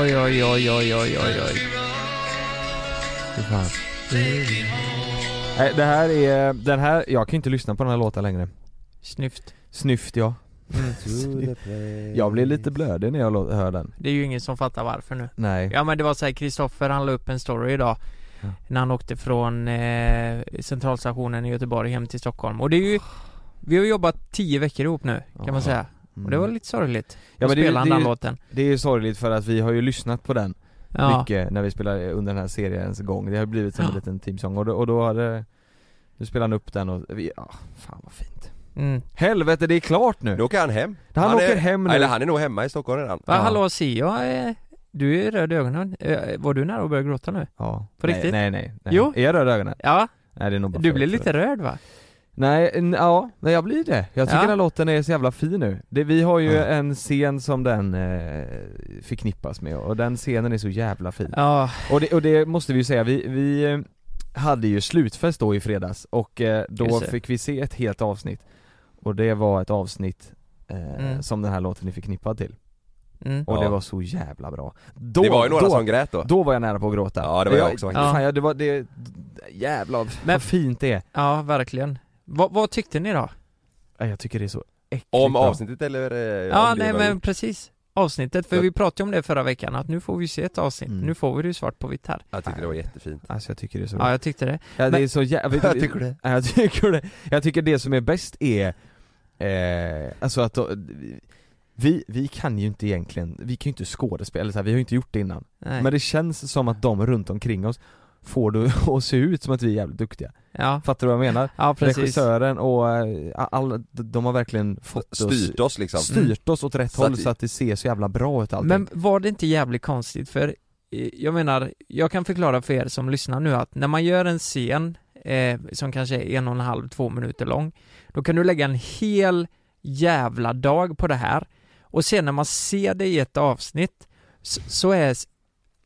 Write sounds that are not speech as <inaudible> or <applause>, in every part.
Oj, oj, oj, oj, oj, oj, oj. Fy fan. Nej, det här är, den här, jag kan inte lyssna på den här låten längre. Snyft. Snyft ja. Jag blir lite blödig när jag lå- hör den. Det är ju ingen som fattar varför nu. Nej. Ja men det var så här, Kristoffer han la upp en story idag. Ja. När han åkte från eh, centralstationen i Göteborg hem till Stockholm. Och det är ju, vi har jobbat tio veckor ihop nu kan Ja. Mm. man säga. Och det var lite sorgligt. Ja, men men det är ju- spelade han det är den ju- låten. Det är ju sorgligt för att vi har ju lyssnat på den Ja. mycket när vi spelar under den här seriens gång. Det har blivit som en Ja. liten teamsång och då, och då har det, nu spelar han upp den och vi, ah, fan vad fint. Mm. Helvete det är klart nu! Nu åker han hem. Han åker är, hem nu. Eller han är nog hemma i Stockholm redan. Va, Ja. hallå Sia, eh, du är röd i ögonen. Eh, Var du nära att börja gråta nu? Ja. På nej, riktigt? Nej nej, nej. Jo. Är jag röd i ögonen? Ja, Nej det är nog bara du för- blev för- lite röd va? Nej, n- ja, nej jag blir det. Jag tycker Ja. den här låten är så jävla fin nu. Det, vi har ju Ja. en scen som den eh, förknippas med och den scenen är så jävla fin. Ja, Och, det, och det måste vi ju säga, vi, vi eh, hade ju slutfest då i fredags och eh, då Just det. fick vi se ett helt avsnitt. Och det var ett avsnitt eh, Mm. som den här låten är förknippad till. mm. Och Ja. det var så jävla bra. Då, det var ju några då, som grät då. då var jag nära på att gråta. Ja, det var jag också faktiskt. Fan, ja, det var, det, jävlar Men- vad fint det är. ja verkligen. Va, vad tyckte ni då? Ja, Jag tycker det är så äckligt Om bra. avsnittet eller... eh, Ja, om det nej var- men precis. Avsnittet, för Jag- vi pratade ju om det förra veckan att nu får vi se ett avsnitt, Mm. nu får vi det ju svart på vitt här. Jag tyckte det var jättefint. Alltså jag tycker det är så bra. Ja, jag tyckte det. Ja, det Men- är så jävla... Jag tycker det. Ja, jag <laughs> tycker det. Jag tycker det som är bäst är, eh, alltså att då, vi, vi kan ju inte egentligen, vi kan ju inte skådespela, eller så här, vi har ju inte gjort det innan. Nej. Men det känns som att de runt omkring oss får det <laughs> att se ut som att vi är jävligt duktiga. Ja, Fattar du vad jag menar? ja precis. Regissören och eh, all, de har verkligen fått Styrt oss liksom. oss, styrt oss åt rätt Så håll att- så att det ser så jävla bra ut allting. Men var det inte jävligt konstigt? För eh, jag menar, jag kan förklara för er som lyssnar nu att när man gör en scen eh, som kanske är en och en halv, två minuter lång, då kan du lägga en hel jävla dag på det här och sen när man ser det i ett avsnitt så, så är, s-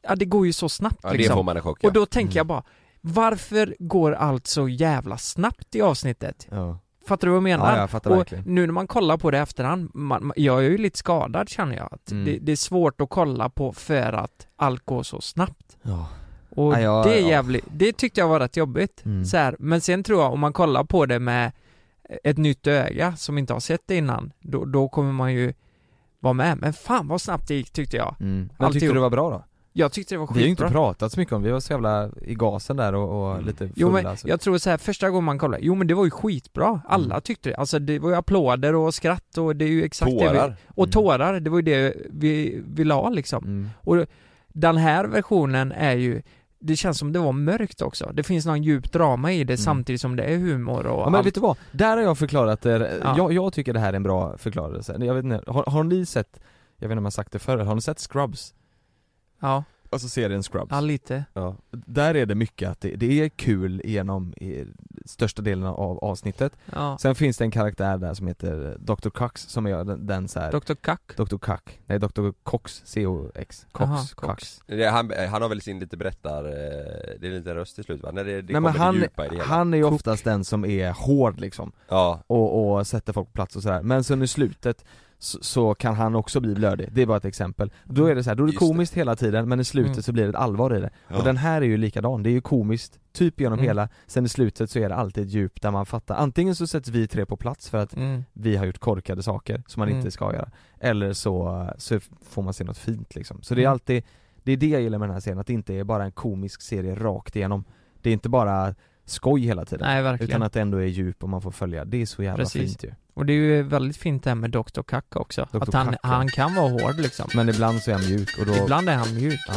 ja det går ju så snabbt Ja, det liksom. får man en chock ja. Och då tänker Mm. jag bara, varför går allt så jävla snabbt i avsnittet? ja. Fattar du vad jag menar? Ja, jag fattar och verkligen. nu när man kollar på det i efterhand, man, man- jag är ju lite skadad känner jag. Att Mm. det, det är svårt att kolla på för att allt går så snabbt. Ja. Och Ja, ja, det är ja. jävligt, det tyckte jag var rätt jobbigt. Mm. Så här, men sen tror jag om man kollar på det med ett nytt öga som inte har sett det innan, då, då kommer man ju vara med. Men fan vad snabbt det gick tyckte jag. Mm. Men Alltihop. tyckte du det var bra då? Jag tyckte det var Vi har ju inte skitbra. pratat så mycket om, vi var så jävla i gasen där och, och lite fulla Jo men alltså. jag tror så här, första gången man kollade, jo men det var ju skitbra, alla Mm. tyckte det, alltså det var ju applåder och skratt och det är ju exakt det vi, Tårar. Och Mm. tårar, det var ju det vi ville ha liksom mm. Och den här versionen är ju det känns som det var mörkt också, det finns någon djup drama i det samtidigt som det är humor och Mm. Ja men allt. vet du vad? Där har jag förklarat det, Ja. jag, jag tycker det här är en bra förklarelse, jag vet inte, har, har ni sett, jag vet inte om jag sagt det förr, har ni sett Scrubs? ja, Alltså serien Scrubs? ja, lite Ja. Där är det mycket att det, det är kul genom eh, största delen av avsnittet ja. Sen finns det en karaktär där som heter Dr. Cox som är den, den så här. Dr Kack Dr. Cox, nej Dr. Cox, C-O-X, Cox, Aha, Cox. Det- Han, eh, han har väl sin lite berättar... eh, Det är en liten röst till slut va? När det, det Nej kommer men det han, djupa i det hela. han är ju oftast den som är hård liksom Ja. och, och sätter folk på plats och sådär. Men sen i slutet så, så kan han också bli blödig, det är bara ett exempel. Då är det så här, då är det Just det. komiskt hela tiden men i slutet Mm. så blir det ett allvar i det. ja. Och den här är ju likadan, det är ju komiskt typ genom Mm. hela, sen i slutet så är det alltid ett djup där man fattar. Antingen så sätts vi tre på plats för att mm. vi har gjort korkade saker som man Mm. inte ska göra. Eller så, så får man se något fint liksom. Så det är Mm. alltid, det är det jag gillar med den här serien, att det inte är bara en komisk serie rakt igenom. Det är inte bara skoj hela tiden. Nej verkligen, utan att det ändå är djup och man får följa, det är så jävla Precis. fint ju. och det är ju väldigt fint det här med Dr Kack också, Dr. att han, Kack, ja. han kan vara hård liksom Men ibland så är han mjuk och då... Ibland är han mjuk Ja.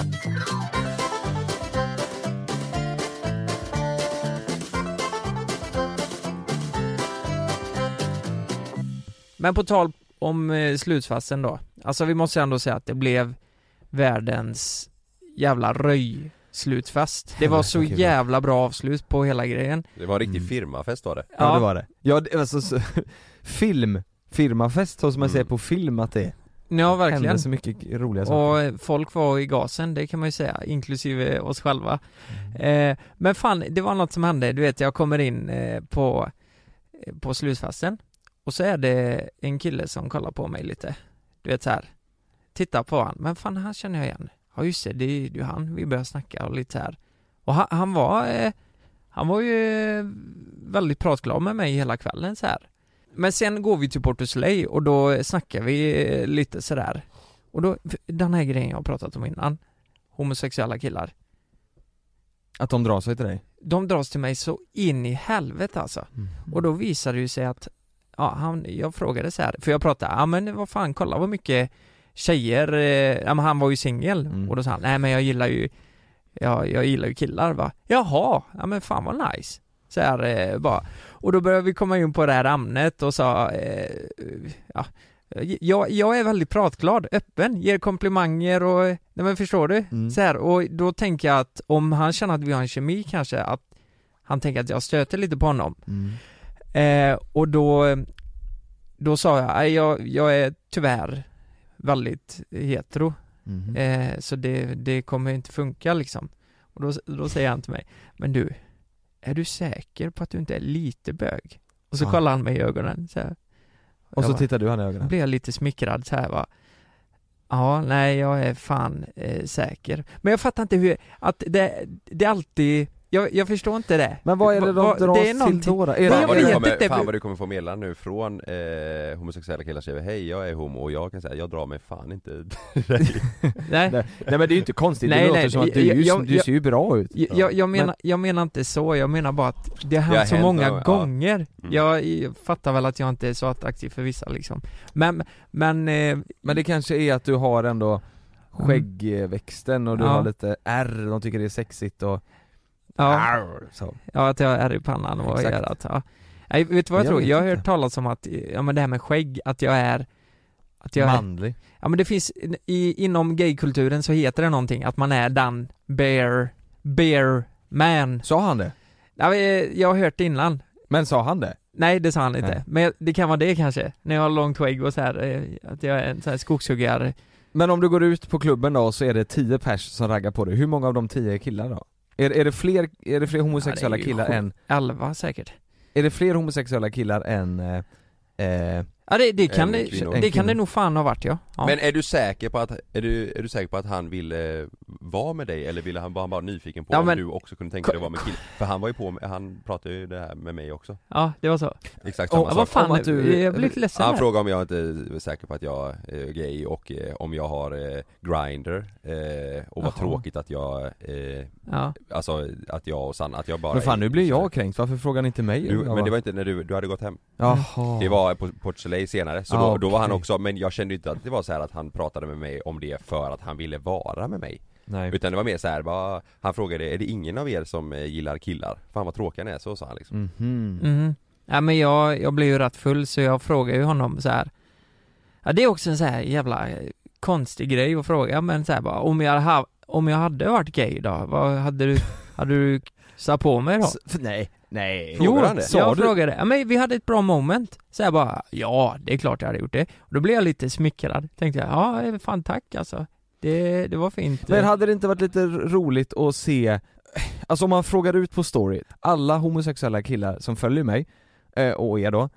Men på tal om eh, slutfasen då. Alltså vi måste ändå säga att det blev världens jävla röj slutfest. Det var så Helvete, kul. jävla bra avslut på hela grejen. Det var en riktig Mm. firmafest var det. Ja, det var det. Ja, det, alltså, så, <laughs> film, firmafest så som man Mm. säger på film att det Ja, verkligen. hände så mycket roliga saker. Och eh, folk var i gasen, det kan man ju säga, inklusive oss själva. Mm. Eh, men fan, det var något som hände. Du vet, jag kommer in eh, på, eh, på slutfesten och så är det en kille som kollar på mig lite. Du vet så här. Titta på han, men fan han känner jag igen. Ja just det, det är ju han vi började snacka och lite så här Och han, han var eh, Han var ju eh, väldigt pratglad med mig hela kvällen så här Men sen går vi till Port Slay och då snackar vi eh, lite sådär Och då, för den här grejen jag har pratat om innan Homosexuella killar Att de drar sig till dig? De dras till mig så in i helvete alltså Mm. och då visade det ju sig att, ja han, jag frågade så här, för jag pratade, ja men vad fan kolla vad mycket tjejer, eh, ja men han var ju singel Mm. och då sa han, nej men jag gillar ju, ja, jag gillar ju killar va, jaha, ja men fan vad nice så här eh, bara, och då började vi komma in på det här ämnet och sa, eh, ja jag, jag är väldigt pratglad, öppen, ger komplimanger och, nej men förstår du? Mm. Så här, och då tänker jag att om han känner att vi har en kemi kanske, att han tänker att jag stöter lite på honom Mm. Eh, och då, då sa jag, "Nej, jag, jag är tyvärr väldigt hetero, Mhm. eh, så det, det kommer inte funka liksom. Och då, då säger han till mig, men du, är du säker på att du inte är lite bög? Och så Ja. kollar han mig i ögonen så här. Och så jag bara, tittar du han i då ögonen? blir jag lite smickrad så här va. Ja, nej jag är fan eh, säker. Men jag fattar inte hur, att det, det är alltid, jag, jag förstår inte det. Men vad är det Va- de va- dras det är till någonting- då? då? Är Nej, Fan, jag vad du vet kommer, inte. fan vad du kommer få meddelanden nu från eh, homosexuella killar som säger Hej jag är homo och jag kan säga jag drar mig fan Mm. inte Nej. Nej, nej men det är ju inte konstigt, Nej, det låter nej, som att du, är jag- ju, jag- du ser ju bra ut Jag, jag, jag, menar, jag menar inte så, jag menar bara att det har Det har hänt så hänt många någon gång, ja. gånger. Mm. Jag, jag fattar väl att jag inte är så attraktiv för vissa liksom. Men, men, eh, Men det kanske är att du har ändå skäggväxten och du Mm. Ja. har lite ärr, de tycker det är sexigt och ja, Arr, så. ja, att jag är i pannan och i Ah. Exakt. örat. Ja. Nej, vet du vad jag, Jag tror? vet Jag har inte. hört talas om att, eh, ja men det här med skägg, att jag är att jag är, manlig ja men det finns, i, inom gaykulturen så heter det någonting, att man är den bear, bear man. Sa han det? Ja, men, eh, jag har hört det innan. Men sa han det? Nej det sa han inte, Nej. men jag- det kan vara det kanske, när jag har långt skägg och så här, eh, att jag är en sån här skogshuggare Men om du går ut på klubben då så är det 10 pers som raggar på dig, hur många av de 10 är killar då? Är, är, det, fler, är det fler homosexuella ju killar sjukt. än, Elva säkert är det fler homosexuella killar än eh, eh, Ja det, det kan, En det, kvinna. det, En kan kvinna. det nog fan ha varit ja, ja. Men är du säker på att, är du, är du säker på att han ville vara med dig eller ville han, var han bara nyfiken på Ja, men- om du också kunde tänka dig att vara med killen? För han var ju på med, han pratade ju det här med mig också ja det var så Exakt Och- samma ja, sak Vad fan, Om att du- jag blev lite ledsen Han där. frågade om jag inte är säker på att jag är gay och eh, om jag har eh, grinder eh, och vad Jaha. tråkigt att jag, eh, ja. alltså att jag och Sanna, att jag bara Men fan är- nu blir jag kränkt, varför frågar ni inte mig? du, Jag Men det bara, var inte när du, du hade gått hem Jaha. Det var på Port Soleil senare, så Ah, då, då var han okej. också, men jag kände inte att det var så här att han pratade med mig om det för att han ville vara med mig Nej. Utan det var mer så här, bara, han frågade är det ingen av er som eh, gillar killar? Fan vad tråkiga ni är, så sa han liksom Mhm. Mhm. ja men jag, jag blev ju rätt full så jag frågade ju honom så här. Ja det är också en så här jävla eh, konstig grej att fråga men så här bara, om jag, ha, om jag hade varit gay då, vad hade du, hade du satt på mig då? S- f- nej, nej. Frågar jo, han det? Sa jag du? frågade. Ja, men vi hade ett bra moment. Så jag bara, ja det är klart jag hade gjort det. Och då blev jag lite smickrad. Tänkte jag, ja fan tack alltså. Det, det var fint. Men hade det inte varit lite roligt att se, alltså om man frågar ut på story, alla homosexuella killar som följer mig, eh, och er då,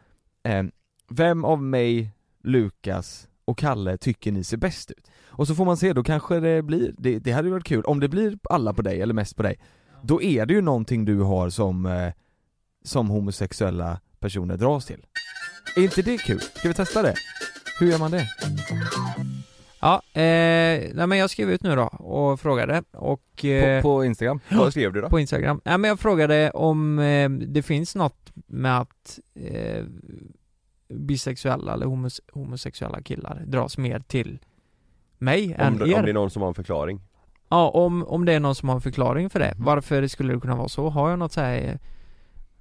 eh, vem av mig, Lukas och Kalle tycker ni ser bäst ut? Och så får man se, då kanske det blir, det, det hade ju varit kul, om det blir alla på dig eller mest på dig, då är det ju någonting du har som, eh, som homosexuella personer dras till. Är inte det kul? Ska vi testa det? Hur gör man det? Ja, eh, nej, men jag skrev ut nu då och frågade. Och eh, På, på Instagram? <gasps> Vad skrev du då? på Instagram. Nej men jag frågade om eh, det finns något med att eh, bisexuella eller homos- homosexuella killar dras mer till mig Om, än det- er. om det är någon som har en förklaring Ja, om, om det är någon som har en förklaring för det. Mhm. Varför skulle det kunna vara så? Har jag något så här, eh,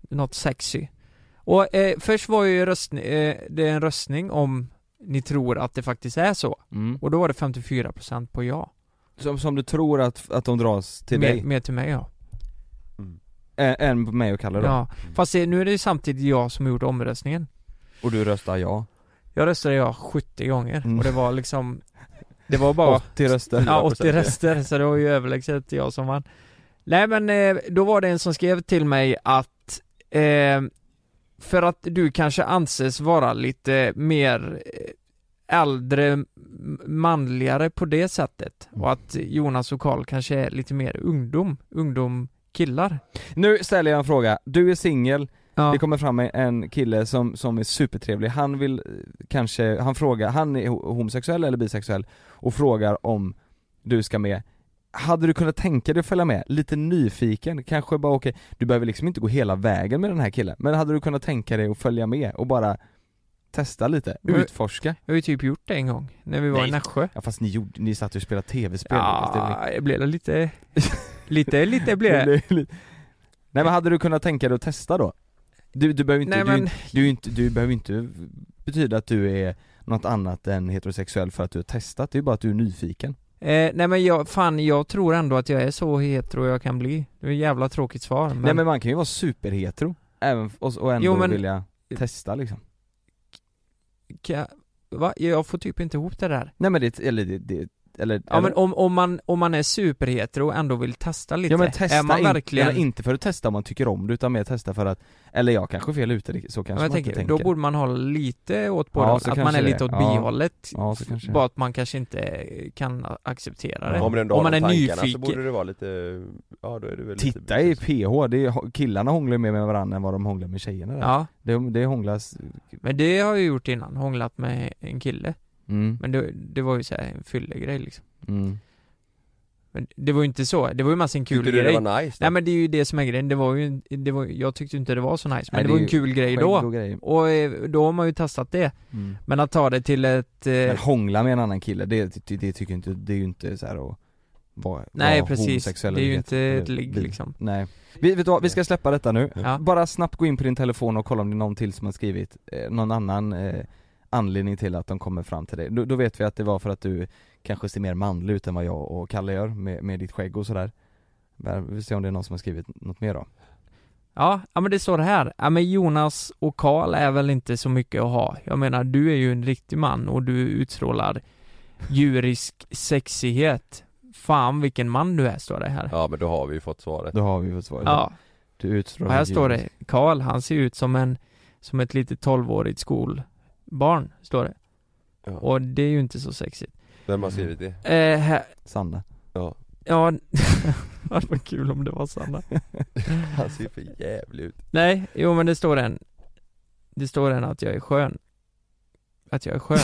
något sexy? Och eh, först var ju röstn- eh, det en röstning om ni tror att det faktiskt är så. Mm. Och då var det 54% på ja. Som, som du tror att, att de dras till dig? Mer, mer till mig ja. Ä- Än på mig och Kalle då? Mm. ja. Fast det, nu är det ju samtidigt jag som har gjort omröstningen. Och du röstar ja? Jag röstade ja 70 gånger Mm. och det var liksom Det var <laughs> bara 80 röster? Ja, 80 ja. röster, så det var ju överlägset jag som vann. Nej men eh, då var det en som skrev till mig att eh, för att du kanske anses vara lite mer eh, äldre m- manligare på det sättet och att Jonas och Karl kanske är lite mer ungdom, ungdom killar. Nu ställer jag en fråga, du är singel, Ja. det kommer fram en kille som, som är supertrevlig, han vill eh, kanske, han frågar, han är ho- homosexuell eller bisexuell och frågar om du ska med hade du kunnat tänka dig att följa med? Lite nyfiken, kanske bara okej, du behöver liksom inte gå hela vägen med den här killen, men hade du kunnat tänka dig att följa med och bara testa lite, Men- utforska? Jag har ju typ gjort det en gång, när vi var Nej. i Nässjö. Ja fast ni, gjorde, ni satt ju och spelade tv-spel Alltså, Ja, det blev lite, lite, lite blev <laughs> det. <laughs> Det blir lite- Nej men hade du kunnat tänka dig att testa då? Du, du behöver inte, Nej du, är men, inte- du, är inte, du behöver inte betyda att du är något annat än heterosexuell för att du har testat, det är ju bara att du är nyfiken eh, nej men jag, fan jag tror ändå att jag är så hetero jag kan bli. Det är ett jävla tråkigt svar men, Nej men man kan ju vara superhetero, även, f- och, och ändå Jo, men- vilja testa liksom Ka, va? Jag får typ inte ihop det där. Nej men det, eller det, det eller, Ja men om, om, man, om man är superhetero och ändå vill testa lite, Ja men testa är man in, verkligen... eller inte för att testa om man tycker om det utan mer testa för att, eller jag kanske är fel ute, det- så Ja, kanske jag man inte tänker, tänker då borde man hålla lite åt Ja, båda så att man kanske är det. lite åt Ja. bihållet. Ja så kanske Bara att man kanske inte kan acceptera det. Ja, Om, du ändå Om har man de är tankarna nyfiken. så borde det vara lite, ja då är det väl Titta lite i PH, det är, killarna hånglar ju mer med varandra än vad de hånglar med tjejerna där. Ja, Det, det hånglas, men det har jag gjort innan, hånglat med en kille. mm, Men det, det var ju så här en fyllegrej liksom. mm. Men det var ju inte så, det var ju mest en kul Tyckte du grej. det var nice? då? Nej men det är ju det som är grejen, det var ju, en- det var, jag tyckte ju inte det var så nice, men Nej, det det var är en kul grej Skägg då. och grejer. Och eh, då har man ju testat det. Mm. Men att ta det till ett... Eh, Men hångla med en annan kille, det, det, det tycker jag inte, det är ju inte så här att vara, nej vara precis, det homosexuell är ju eller inte heter- ett ligg bi. liksom. Nej. Vi, vet du vad, vi ska släppa detta nu. Ja. Bara snabbt gå in på din telefon och kolla om det är någon till som har skrivit eh, någon annan eh, anledning till att de kommer fram till dig. Då, då vet vi att det var för att du kanske ser mer manlig ut än vad jag och Kalle gör med, med ditt skägg och sådär. Men Vi får se om det är någon som har skrivit något mer då. Ja, ja men det står här. Ja men Jonas och Karl är väl inte så mycket att ha. Jag menar, du är ju en riktig man och du utstrålar djurisk sexighet. Fan vilken man du är, står det här. Ja men då har vi ju fått svaret. Då har vi fått svaret. Ja, Du utstrålar och här står ljus. det. Karl, han ser ut som en, som ett litet tolvårigt skolbarn, står det. Ja. Och det är ju inte så sexigt. Vem har skrivit det? Eh, här, <laughs> Sanna. Ja. ja, <laughs> det var kul om det var Sanna. <laughs> Han ser för jävlig ut. Nej, jo men det står en. Det står en att jag är skön. Att jag är skön.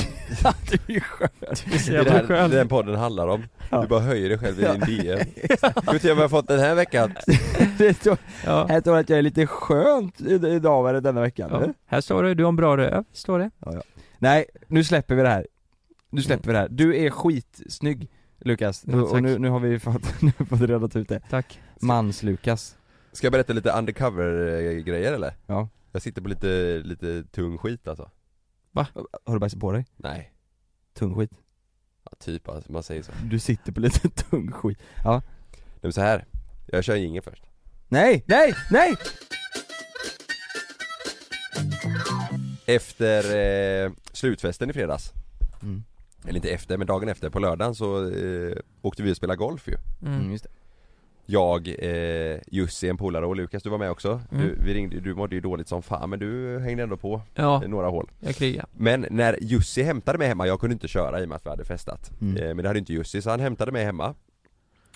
<laughs> du är skön. så Det är det jävla här, det är skön. den podden handlar om. Ja. Du bara höjer dig <laughs> själv i din <laughs> DM. Ska vi se vad jag har fått den här veckan? <laughs> Det står, Ja. här står det att jag är lite skönt i- idag eller denna veckan. Ja. eller? Här står det, du har en bra röv, står det. Nej, nu släpper vi det här. Nu släpper vi det här. Du är skitsnygg Lukas, Ja, tack. och nu, nu har vi fått, <laughs> nu har vi fått redat ut det. Tack. Mans-Lukas. Ska jag berätta lite undercover-grejer eller? Ja. Jag sitter på lite, lite tung skit alltså. Har du bajsat på dig? Nej, Tung skit. ja, typ alltså, man säger så. Nej, Du sitter på lite <laughs> tung skit. men så här. jag kör ingen först. Nej, nej, nej! Efter eh, slutfesten i fredags, Mm, eller inte efter men dagen efter, på lördagen så eh, åkte vi och spelade golf ju. Mm. just det. Jag, eh, Jussi, en polare och Lukas, du var med också. Du, Mm. vi ringde, du mådde ju dåligt som fan men du hängde ändå på Ja, eh, några hål. jag krigar. Men när Jussi hämtade mig hemma, jag kunde inte köra i och med att vi hade festat. Mm. Eh, men det hade inte Jussi, så han hämtade mig hemma.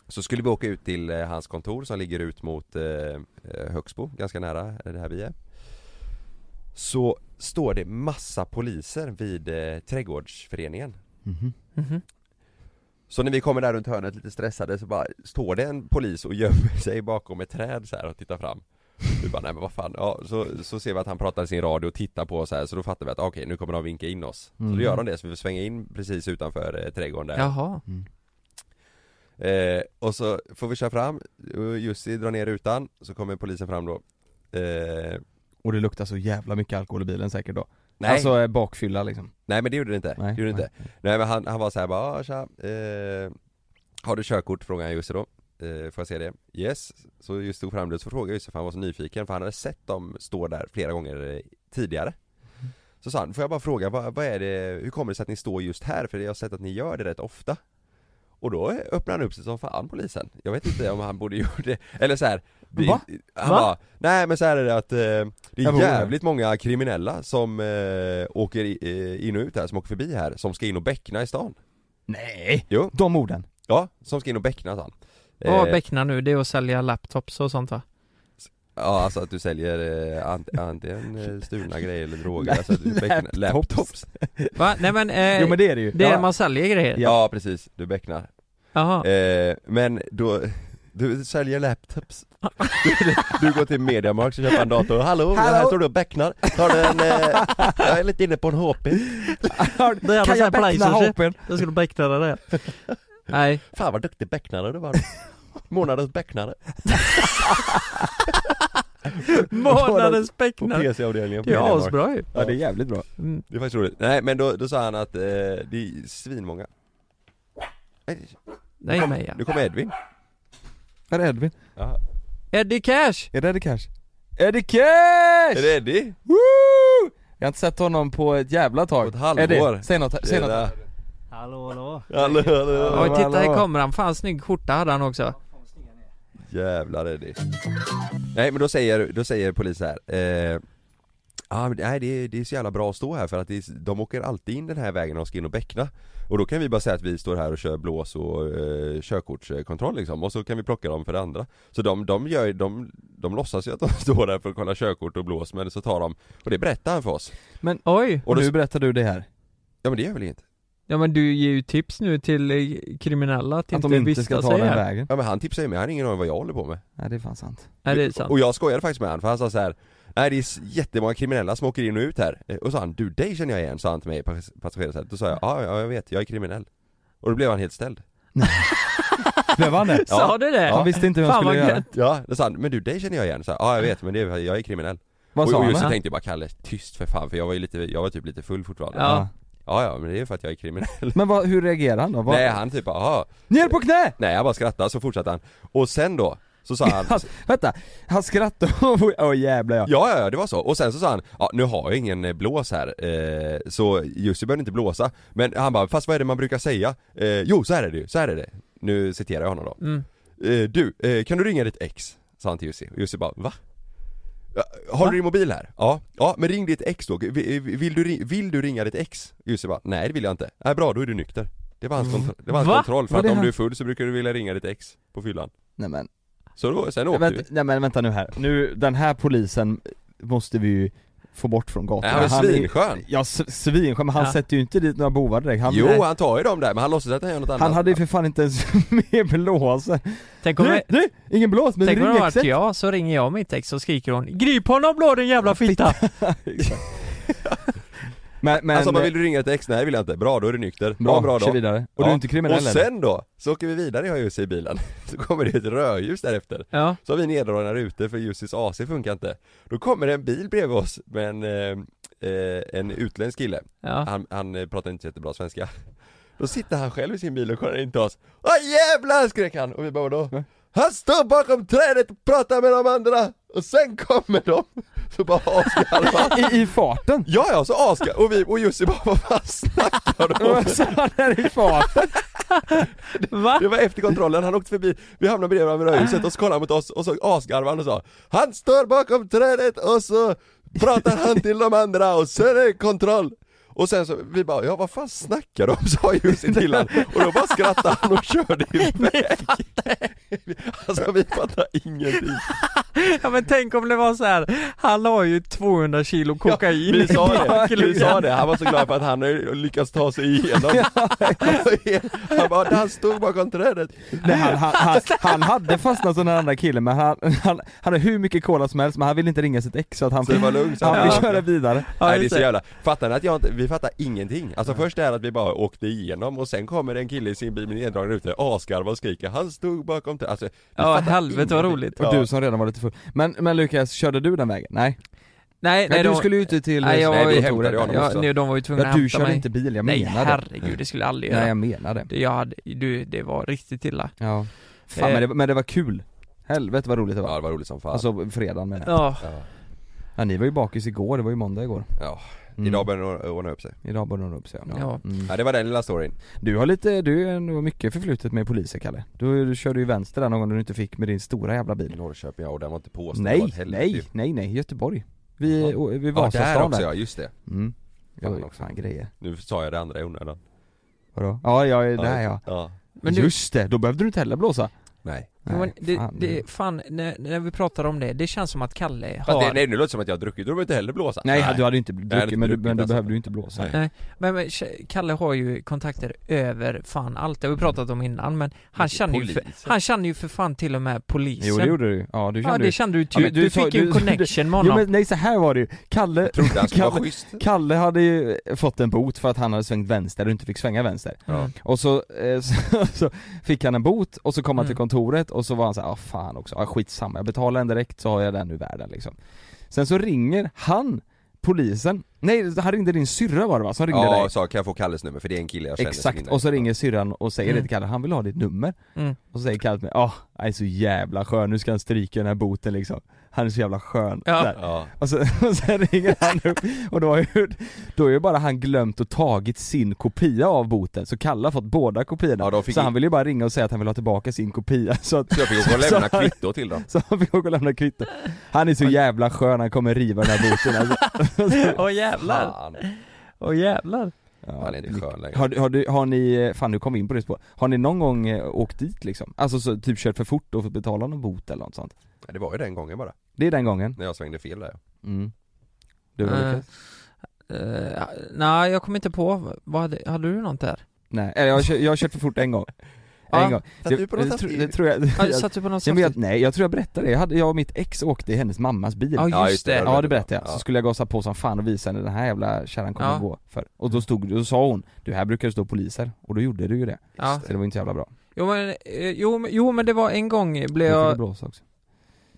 Så skulle vi åka ut till eh, hans kontor som ligger ut mot eh, eh, Högsbo, ganska nära eh, det här vi är. Så står det massa poliser vid eh, trädgårdsföreningen. Mhm. Mhm. Så när vi kommer där runt hörnet lite stressade så bara står det en polis och gömmer sig bakom ett träd så här och tittar fram. Vi bara nej men vad fan, ja, så, så ser vi att han pratar i sin radio och tittar på oss här så då fattar vi att "Ah, okej nu kommer de vinka in oss. Så Mm. då gör de det så vi får svänga in precis utanför eh, trädgården där. Jaha. Mm. Eh, och så får vi köra fram, och Jussi drar ner rutan, så kommer polisen fram då. Eh, Och det luktar så jävla mycket alkohol i bilen säkert då. nej, Alltså eh, bakfylla liksom. nej men det gjorde det inte. det gjorde det inte. Nej men han, han var så här bara, "Ah, tja, eh, har du körkort? Frågade han Jussi då. Eh, får jag se det? Yes. Så just tog fram det, så frågade Jussi för han var så nyfiken för han hade sett dem stå där flera gånger eh, tidigare. Så sa han, får jag bara fråga, vad, vad är det, hur kommer det sig att ni står just här? För jag har sett att ni gör det rätt ofta. Och då öppnar han upp sig som fan polisen. Jag vet inte om han borde <laughs> gjort det, eller så här. det- Va? Han Va? bara, nej men så här är det att eh, det Jag bor är här. jävligt många kriminella som eh, åker i, eh, in och ut här, som åker förbi här, som ska in och bäckna i stan. Nej! Jo. De orden. Ja, som ska in och beckna sa han Vad var Eh, beckna nu? Det är att sälja laptops och sånt va? Ja alltså att du säljer eh, ant- antingen eh, <laughs> stulna grejer eller droger, alltså att du becknar, Laptops. laptops Va? Nej men, eh, Jo men det är det ju. det är ja. man säljer grejer? Ja precis, du becknar Jaha. eh, Men då, du säljer <laughs> laptops du, du går till Mediamarkt och köper en dator, hallå, Hallå. här står du och becknar, tar du en, eh, <laughs> jag är lite inne på en HP Det är kan jag beckna hopen? Jag skulle beckna det där. <laughs> Nej, Fan vad duktig becknare du var Månadens becknare månadens på becknare. PC-avdelningen på Det är Mediamarkt asbra ju. Ja det är jävligt bra. Mm. Det är faktiskt roligt. Nej men då, då sa han att eh, det är svinmånga Nej, Nej kom- Meja. Nu kommer Edvin Är det Edvin? Eddie Cash! Är det Eddie Cash? Eddie Cash! Är det Eddie? Woo! Jag har inte sett honom på ett jävla tag. På ett halvår. Eddie, säg något, säg något. Tjena. Hallå hallå! Hallå hallå Oj titta här hallå. kommer han, fan snygg skjorta hade han också. Jävlar Eddie Nej men då säger, då säger polisen här eh, Ja men nej det, det är så jävla bra att stå här för att det är, de åker alltid in den här vägen när de ska in och bäckna Och då kan vi bara säga att vi står här och kör blås och eh, körkortskontroll liksom och så kan vi plocka dem för det andra Så de, de gör ju- de, de låtsas ju att de <laughs> står där för att kolla körkort och blås men så tar de Och det berättar han för oss Oj! Och Och då, nu berättar du det här. ja men det gör väl inget? Ja men du ger ju tips nu till eh, kriminella att, Att inte, de inte vistas ska ta den här. vägen. Ja men han tipsar ju mig, han har ingen aning vad jag håller på med Nej det är <laughs> fan sant. Nej det är sant. Och jag skojade faktiskt med han för han sa så här. Nej det är s- jättemånga kriminella som åker in och ut här Eh, Och sa han, du dig känner jag igen, sa han till mig i pass- passagerarsätet Då sa jag, Mm. ja ja jag vet, jag är kriminell Och då blev han helt ställd Blev han det? Sa du det? Han visste inte hur han Fan, skulle vad göra. gött. Ja, då sa han, men du dig känner jag igen, så här, ja jag vet men det är, jag är kriminell Vad och, sa och han? just så va? tänkte jag bara Kalle, tyst för fan för jag var ju lite, jag var typ lite full fortfarande Ja Ja. ja, men det är för att jag är kriminell Men vad, hur reagerar han då? Vad- Nej han typ bara, "Jaha." Ner på knä! nej jag bara skrattade så fortsatte han Och sen då, så <laughs> sa han Han, vänta, han skrattar och... Åh jävlar ja. Ja, ja, ja, det var så. Och sen så sa han, ja nu har jag ingen eh, blås här, eh, så Jussi behöver inte blåsa. Men han bara, fast vad är det man brukar säga? Eh, jo, så här är det ju, så här är det. Nu citerar jag honom då. Mm. Eh, du, eh, kan du ringa ditt ex? Sa han till Jussi. Och Jussi bara, va? Ja, Har du din mobil här? Ja, ja men ring ditt ex då. Vi- eh, Vill du, ri- vill du ringa ditt ex? Jussi bara, nej det vill jag inte. Nej bra, då är du nykter. Det var hans, kontro- det var hans Va? kontroll, för Mm. Var att det om han- du är full så brukar du vilja ringa ditt ex på fyllan. Nej men, Så då, sen åkte vänta, vi. nej men vänta nu här. Nu, den här polisen måste vi ju få bort från gatan. Nej, han är svinskön. Ja, s- svinskön, men han Ja. sätter ju inte dit några bovar direkt. Han, Jo, nej, han tar ju dem där, men han låtsas att han gör något annat. han hade ju för fan inte ens <laughs> med blåsa. Tänk om, Du, du, ingen blås, men tänk om det ring var exet. varit jag, så ringer jag mitt ex och skriker hon 'Grip honom blå din jävla fitta!' <laughs> Men, men alltså man vill du ringa ett ex? Nej vill jag inte. Bra, då är du nykter. bra, eh, Bra, bra kör dag. vidare. Och Ja. du är inte kriminell Och sen då, så åker vi vidare jag och Jussi i bilen. <laughs> Så kommer det ett rödljus därefter. Ja. Så har vi neddragna rutor för Jussis AC funkar inte. Då kommer det en bil bredvid oss med en, eh, eh, en utländsk kille. Ah. Ja. Han, han eh, pratar inte så jättebra svenska. <laughs> Då sitter han själv i sin bil och kollar in till oss. Åh jävlar skrek han! Och vi bara då? Han står bakom trädet och pratar med de andra! Och sen kommer de! Så bara asgarvar han. I, I <laughs> farten! Ja, ja, så aska och vi och Jussi bara vad fan snackar du om? Så <laughs> han är i farten! Va? Det var efter kontrollen, han åkte förbi, vi hamnade bredvid varandra vid rödhuset och så kollade han mot oss och så asgarvade han och sa Han står bakom trädet och så pratar han till de andra och sen är det kontroll! Och sen så, vi bara ja vad fan snackar de om? sa Jussi till han och då bara skrattade han och körde iväg Alltså vi fattar ingenting Ja men tänk om det var så här. han har ju 200 kilo kokain Vi sa i det, vi bakluckan. sa det, han var så glad för att han har lyckats ta sig <laughs> igenom <laughs> Han bara, han stod bakom trädet Nej, han, han, han, <laughs> han hade fastnat som den andra killen men han, han hade hur mycket cola som helst men han ville inte ringa sitt ex så att han Så det fick, var lugnt så han han- fick köra vidare. Ja, Nej det är just så det. jävla, fattar ni att jag inte, vi fattar ingenting. Alltså först är det att vi bara åkte igenom och sen kommer en kille i sin bil med neddragen ute, asgarvar och skriker, han stod bakom t- alltså, vi Ja fattar helvete vad ingenting. roligt. Och du som redan var lite full. Men, men Lukas, körde du den vägen? Nej? Nej, nej, du de, skulle ju inte till... nej, jag Nej, var vi ju hämtade honom ja, också. nu, de var ju tvungna ja, att du hämta körde mig. inte bil, jag nej menar det. herregud, det skulle jag aldrig göra. Nej jag menar det. Det- Jag hade, du, det var riktigt illa. Ja. Fan, Eh. men, det, men det var kul. Helvete vad roligt det var. Ja det var roligt som fan. Alltså fredagen menar jag. Eh, Ja, ja. Ja ni var ju bakis igår, det var ju måndag igår. ja. Mm. Idag börjar det ordna upp sig. Idag började hon upp sig Ja. Mm. Ja det var den lilla storyn. Du har lite, du är nog mycket förflutet med poliser Kalle. Du, du körde ju vänster där någon gång du inte fick med din stora jävla bil. Norrköping, ja och den var inte påstådd. det var Nej, ett helvete ju. nej, nej, nej, Göteborg. Vi, Jaha. och, vi Ja där Vasastan också där. ja, just det. Mm. Det var ju Fan också. fan grejer. Nu sa jag det andra i onödan. Vadå? Ja, jag är där ja. ja. Men du, Just det, då behövde du inte heller blåsa. Nej. jo, men det, fan. det, fan när, när vi pratar om det, det känns som att Kalle Fast har det, nej nu låter det som att jag har druckit, då behöver jag inte heller blåsa Nej, du hade ju inte hade inte druckit men du, druckit, men du alltså. behövde ju inte blåsa. Nej. Men, men K- Kalle har ju kontakter över fan allt, det har vi pratat om innan men han känner ju för, Polisen. han känner ju för fan till och med polisen Jo det gjorde du ju. Ja du Ja kände det ju. kände du Ja, typ, men du, du sa- fick ju en du- connection med <laughs> Jo honom men nej så här var det ju. Kalle, Trodde han skulle vara Kalle- schysst Kalle hade ju fått en bot för att han hade svängt vänster och inte fick svänga vänster. mm. Och så, eh, <laughs> så, så fick han en bot och så kom han till Mm. kontoret och så var han så här, ah fan också, ah, skitsamma, jag betalar den direkt så har jag den ur världen liksom. Sen så ringer han polisen, nej han ringde din syrra var det va? Som ringde Ja, dig? och sa kan jag få Kalles nummer för det är en kille jag känner som Exakt, ringer. och så ringer syrran och säger Mm. det till Kalle, han vill ha ditt nummer. Mm. Och så säger Kalle till mig, ah, han är så jävla skön, nu ska han stryka den här boten liksom. Han är så jävla skön. Ja. Där. Ja, Och, så, Alltså, <laughs> och sen ringer han upp och då har ju, då har ju bara han glömt och tagit sin kopia av boten, så Kalle har fått båda kopiorna. ja de fick Så han ville ju bara ringa och säga att han vill ha tillbaka sin kopia <laughs> så att så jag fick gå och så lämna han- kvitto till dem så han fick åka och lämna kvitto. Han är så jävla skön, han kommer riva den här boten <laughs> alltså. Åh jävlar, Fan, åh jävlar ja, han är inte skön längre har, du- har, du, har ni, fan nu kom vi in på det spår. Har ni någon gång eh, åkt dit liksom? Alltså så, typ kört för fort och fått betala någon bot eller något sånt? Ja, Det var ju den gången bara, Det är den gången? när jag svängde fel där Mm. Du då Lukas? Eh, nej jag kommer inte på, vad hade, hade du något där? Nej, eller jag har, kört, jag har kört för fort en gång. <laughs> Ja, en gång. satt Det, du på något det, tro- saftigt? det tror jag, Ah, satt du på något jag, saftigt? vet, nej jag tror jag berättade det, jag, hade, jag och mitt ex åkte i hennes mammas bil. Ja Ja, just just det, det. Ja det berättade jag, Ja. så skulle jag gasa på som fan och visa henne den här jävla kärran kommer Ja. gå för Och då stod då sa hon, du här brukar det stå poliser, och då gjorde du ju det, Ja. så det var inte så jävla bra Jo men, eh, jo, men- jo men det var en gång blev jag... jag, fick blåsa också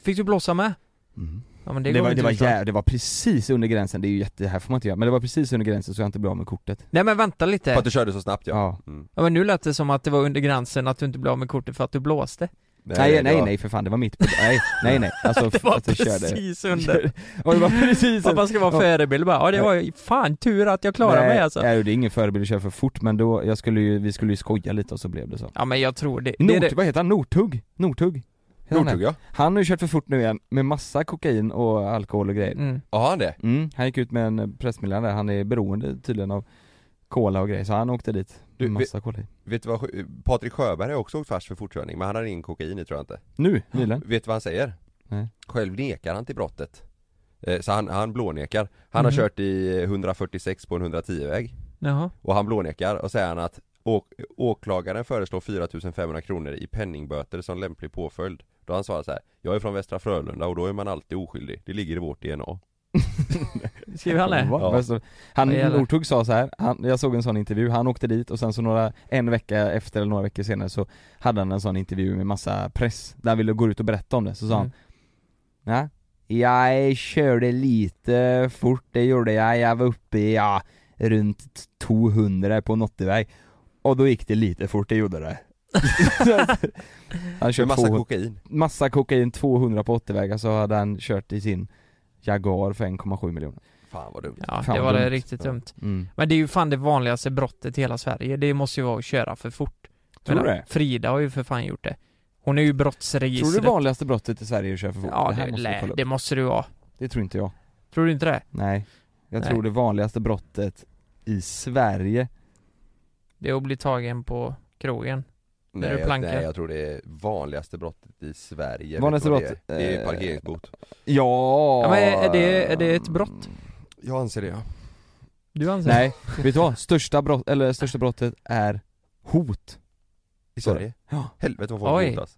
fick du blåsa med? mm. Ja men det, det, går typ var, inte det, var förstå. jä... det var precis under gränsen, det är ju jätte, det här får man inte göra, men det var precis under gränsen så jag inte blev av med kortet Nej men vänta lite, För att du körde så snabbt ja, Ja. Mm. ja, men nu lät det som att det var under gränsen att du inte blev av med kortet för att du blåste Nej det nej var- nej för fan, det var mitt, nej <laughs> nej nej, alltså Det var att jag körde precis under Och det var precis Att man ska vara förebild bara, ja det var ju fan tur att jag klarade mig alltså Nej, det är ingen förebild att köra för fort men då, jag skulle ju, vi skulle ju skoja lite och så blev det så Ja men jag tror det, det, är Nort, det. vad heter han? Northug? Northug? Heter han det? Nordtog jag? Han har ju kört för fort nu igen med massa kokain och alkohol och grejer. Mm. Ja, han det? Mm, han gick ut med en pressmeddelande, han är beroende tydligen av cola och grejer, så han åkte dit. Du, med massa cola i. Vet du vad, sj- Patrik Sjöberg har också åkt fast för fortkörning, men han hade ingen kokain i tror jag inte Nu, nyligen. Vet du vad han säger? Nej. Själv nekar han till brottet Eh, Så han, han blånekar, han har Mhm. kört i 146 på en 110-väg Jaha. Och han blånekar och säger han att å- åklagaren föreslår 4500 kronor i penningböter som lämplig påföljd. Då han svarar så här, jag är från Västra Frölunda och då är man alltid oskyldig. Det ligger i vårt DNA. <laughs> Skriver han det? Va? Ja. Vad står- Han, Vad gäller? Northug sa så här, han, jag såg en sån intervju, han åkte dit och sen så några, en vecka efter eller några veckor senare så hade han en sån intervju med massa press, där han ville gå ut och berätta om det, så sa han Mm. Nej. Jag körde lite fort, det gjorde jag. Jag var uppe i, ja, runt 200 på en 80-väg. Och då gick det lite fort, det <laughs> gjorde det. Mm. <laughs> han Med körde massa massa, kokain. massa kokain, 200 på 80-vägar, så hade han kört i sin Jaguar för 1,7 miljoner. Fan vad dumt. Ja Fan, det vad var det dumt. riktigt Ja. dumt Mm. Men det är ju fan det vanligaste brottet i hela Sverige, det måste ju vara att köra för fort Tror du Men, det? Frida har ju för fan gjort det Hon är ju brottsregistret Tror du det vanligaste brottet i Sverige är att köra för fort? Ja här det, måste vi lä- kolla upp. det måste det ju vara det tror inte jag. Tror du inte det? Nej. Jag Nej. tror det vanligaste brottet i Sverige, Det är att bli tagen på krogen När du Nej, jag, plankar. nej, jag tror det är vanligaste brottet i Sverige. Vanligaste Vet du vad brott? Det är, det är Eh, parkeringsbot. ja... Ja, men är det- är det ett brott? Jag anser det ja. Du anser Nej, vet du vad? Största, brott, eller största brottet är hot. I Så är Sverige. Ja. Helvete vad Oj. folk hotas.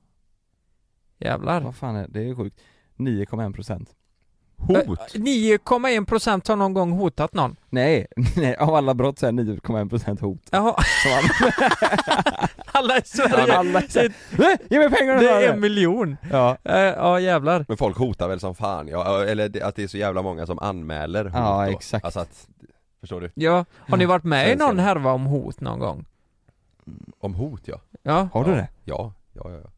Jävlar Vad fan är det? Det är sjukt. 9,1% Hot? 9,1% har någon gång hotat någon Nej, <laughs> nej, av alla brott så är 9,1% hot. Jaha, <laughs> Som alla, alla i som Sverige alla säger, "Nej, Ge mig pengarna! Det sa är jag. en miljon! Ja, Eh, Ja jävlar Men folk hotar väl som fan, ja, eller det- att det är så jävla många som anmäler hot ja då. exakt. Alltså att, förstår du? Ja, har ni varit med i Sen ser någon vi. härva om hot någon gång? Om hot ja. Ja, Har du ja. det? Ja, ja, ja. ja.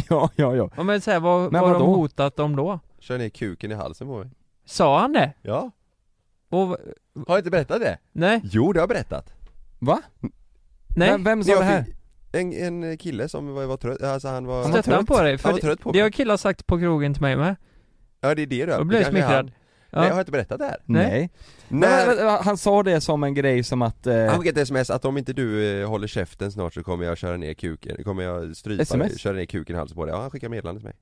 <laughs> ja, ja, ja. ja men säg vad, Men vad har de vadå? hotat om då? Kör ner kuken i halsen på mig. Sa han det? Ja. Och, Har jag inte berättat det? nej, Jo, det har jag berättat. nej, Vem, vem sa det Jag här? fick- En, en kille som var, var trött, alltså han var... var stötte han trött. på dig? Han För var det, trött på det mig. har killar sagt på krogen till mig med Ja det är det du är. Då blir jag Det kanske är smickrad. han. Nej jag har inte berättat det här Nej. Nej. När- Men, men, han sa det som en grej som att... Eh, Han skickade ett sms att om inte du eh, håller käften snart så kommer jag köra ner kuken, kommer jag strypa SMS? dig, köra ner kuken i halsen på dig. Ja han skickade meddelande till mig